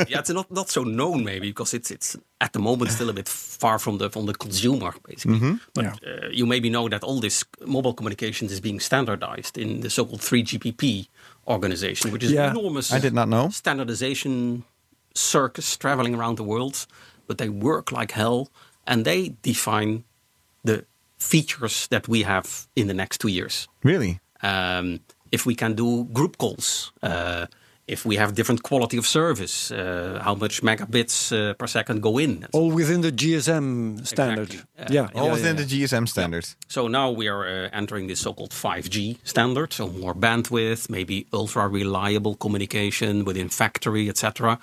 Speaker 3: yeah it's not, not so known maybe because it's it's at the moment still a bit far from the from the consumer basically.
Speaker 1: Mm-hmm.
Speaker 3: But
Speaker 1: Yeah.
Speaker 3: uh, you maybe know that all this mobile communications is being standardized in the so-called 3GPP organization, which is
Speaker 1: Yeah.
Speaker 3: an enormous
Speaker 2: I did not know.
Speaker 3: standardization circus traveling around the world, but they work like hell and they define the features that we have in the next two years.
Speaker 2: Really?
Speaker 3: Um, if we can do group calls, uh, if we have different quality of service, uh, how much megabits uh, per second go in.
Speaker 1: All within the GSM standard.
Speaker 3: Exactly.
Speaker 1: yeah.
Speaker 2: All
Speaker 1: yeah,
Speaker 2: within
Speaker 1: yeah.
Speaker 2: the GSM standards.
Speaker 3: So now we are uh, entering this so-called 5G standard, so more bandwidth, maybe ultra-reliable communication within factory, etc.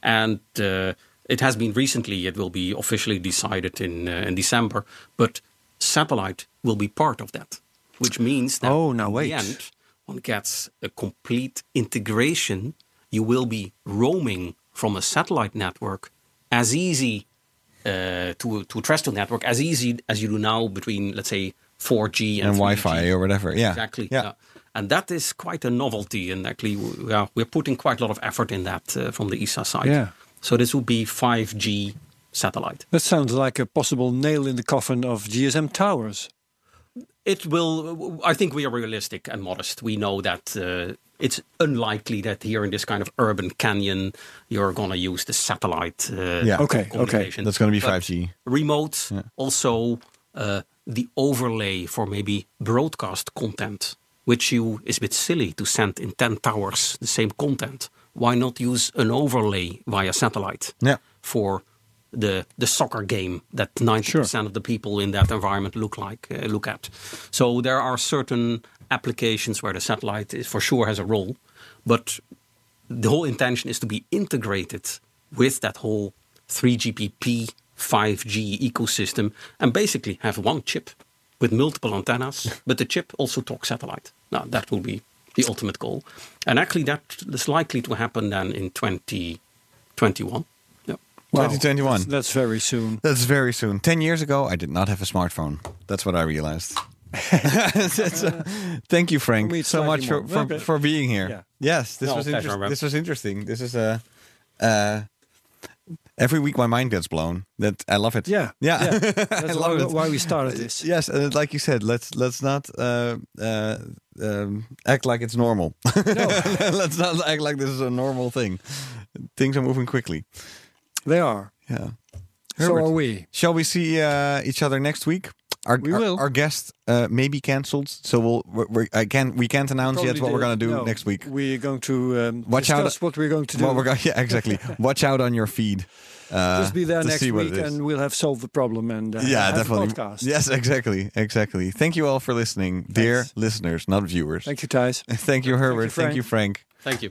Speaker 3: And uh, it has been recently; it will be officially decided in uh, in December. But satellite will be part of that, which means that
Speaker 1: Oh, now
Speaker 3: in
Speaker 1: wait.
Speaker 3: the end one gets a complete integration. You will be roaming from a satellite network as easy uh, to to a terrestrial network as easy as you do now between let's say 4G and,
Speaker 2: And
Speaker 3: 3G.
Speaker 2: Wi-Fi or whatever. Yeah.
Speaker 3: Exactly.
Speaker 2: Yeah.
Speaker 3: yeah. And that is quite a novelty, and actually, w- yeah, we're putting quite a lot of effort in that uh, from the ESA side.
Speaker 1: Yeah.
Speaker 3: So this will be 5G satellite.
Speaker 1: That sounds like a possible nail in the coffin of GSM towers.
Speaker 3: It will. I think we are realistic and modest. We know that uh, it's unlikely that here in this kind of urban canyon you're going to use the satellite. Uh,
Speaker 2: Yeah.
Speaker 1: Okay, okay.
Speaker 3: communication.
Speaker 2: That's going to be
Speaker 3: But
Speaker 2: 5G.
Speaker 3: remote, also uh, the overlay for maybe broadcast content, which you is a bit silly to send in 10 towers the same content. Why not use an overlay via satellite
Speaker 2: Yeah.
Speaker 3: for the the soccer game that 90% of the people in that environment look like uh, look at. So there are certain applications where the satellite is for sure has a role, but the whole intention is to be integrated with that whole 3GPP 5G ecosystem and basically have one chip with multiple antennas, but the chip also talks satellite. Now that will be the ultimate goal, and actually that is likely to happen then in 2021. Yeah.
Speaker 2: 2021.
Speaker 1: That's, that's very soon.
Speaker 2: That's very soon. Ten years ago, I did not have a smartphone. That's what I realized. So, thank you, Frank,
Speaker 1: For me, it's
Speaker 2: so
Speaker 1: slightly
Speaker 2: much for,
Speaker 1: more.
Speaker 2: for,
Speaker 1: Okay.
Speaker 2: for being here.
Speaker 1: Yeah.
Speaker 2: Yes, this
Speaker 3: No,
Speaker 2: was
Speaker 3: pleasure,
Speaker 2: interest-
Speaker 3: Rob.
Speaker 2: this was interesting. This is a. Uh, every week, my mind gets blown. That I love it.
Speaker 1: Yeah.
Speaker 2: yeah,
Speaker 1: That's why, why we started this.
Speaker 2: yes. And like you said, let's let's not uh, uh, um, act like it's normal. let's not act like this is a normal thing. Things are moving quickly.
Speaker 1: They are.
Speaker 2: Yeah.
Speaker 1: So
Speaker 2: Herbert.
Speaker 1: are we.
Speaker 2: Shall we see uh, each other next week? Our,
Speaker 1: We
Speaker 2: our,
Speaker 1: will.
Speaker 2: our guest uh, may be cancelled, so we'll we we I can we can't announce yet
Speaker 1: Probably
Speaker 2: what we're
Speaker 1: the-
Speaker 2: gonna do
Speaker 1: no,
Speaker 2: next week.
Speaker 1: We're going to um,
Speaker 2: Watch out-
Speaker 1: discuss what we're going to do.
Speaker 2: What we're gonna, yeah, exactly. Watch out on your feed. Uh,
Speaker 1: Just be there
Speaker 2: to
Speaker 1: next
Speaker 2: see what
Speaker 1: week,
Speaker 2: it is.
Speaker 1: and we'll have solved the problem. And uh,
Speaker 2: yeah,
Speaker 1: have a
Speaker 2: definitely.
Speaker 1: podcast.
Speaker 2: Yes, exactly, exactly. Thank you all for listening, dear listeners, not viewers.
Speaker 1: Thank you, Thijs.
Speaker 2: Thank you, Herbert. Thank
Speaker 1: Frank.
Speaker 2: you, Frank.
Speaker 3: Thank you.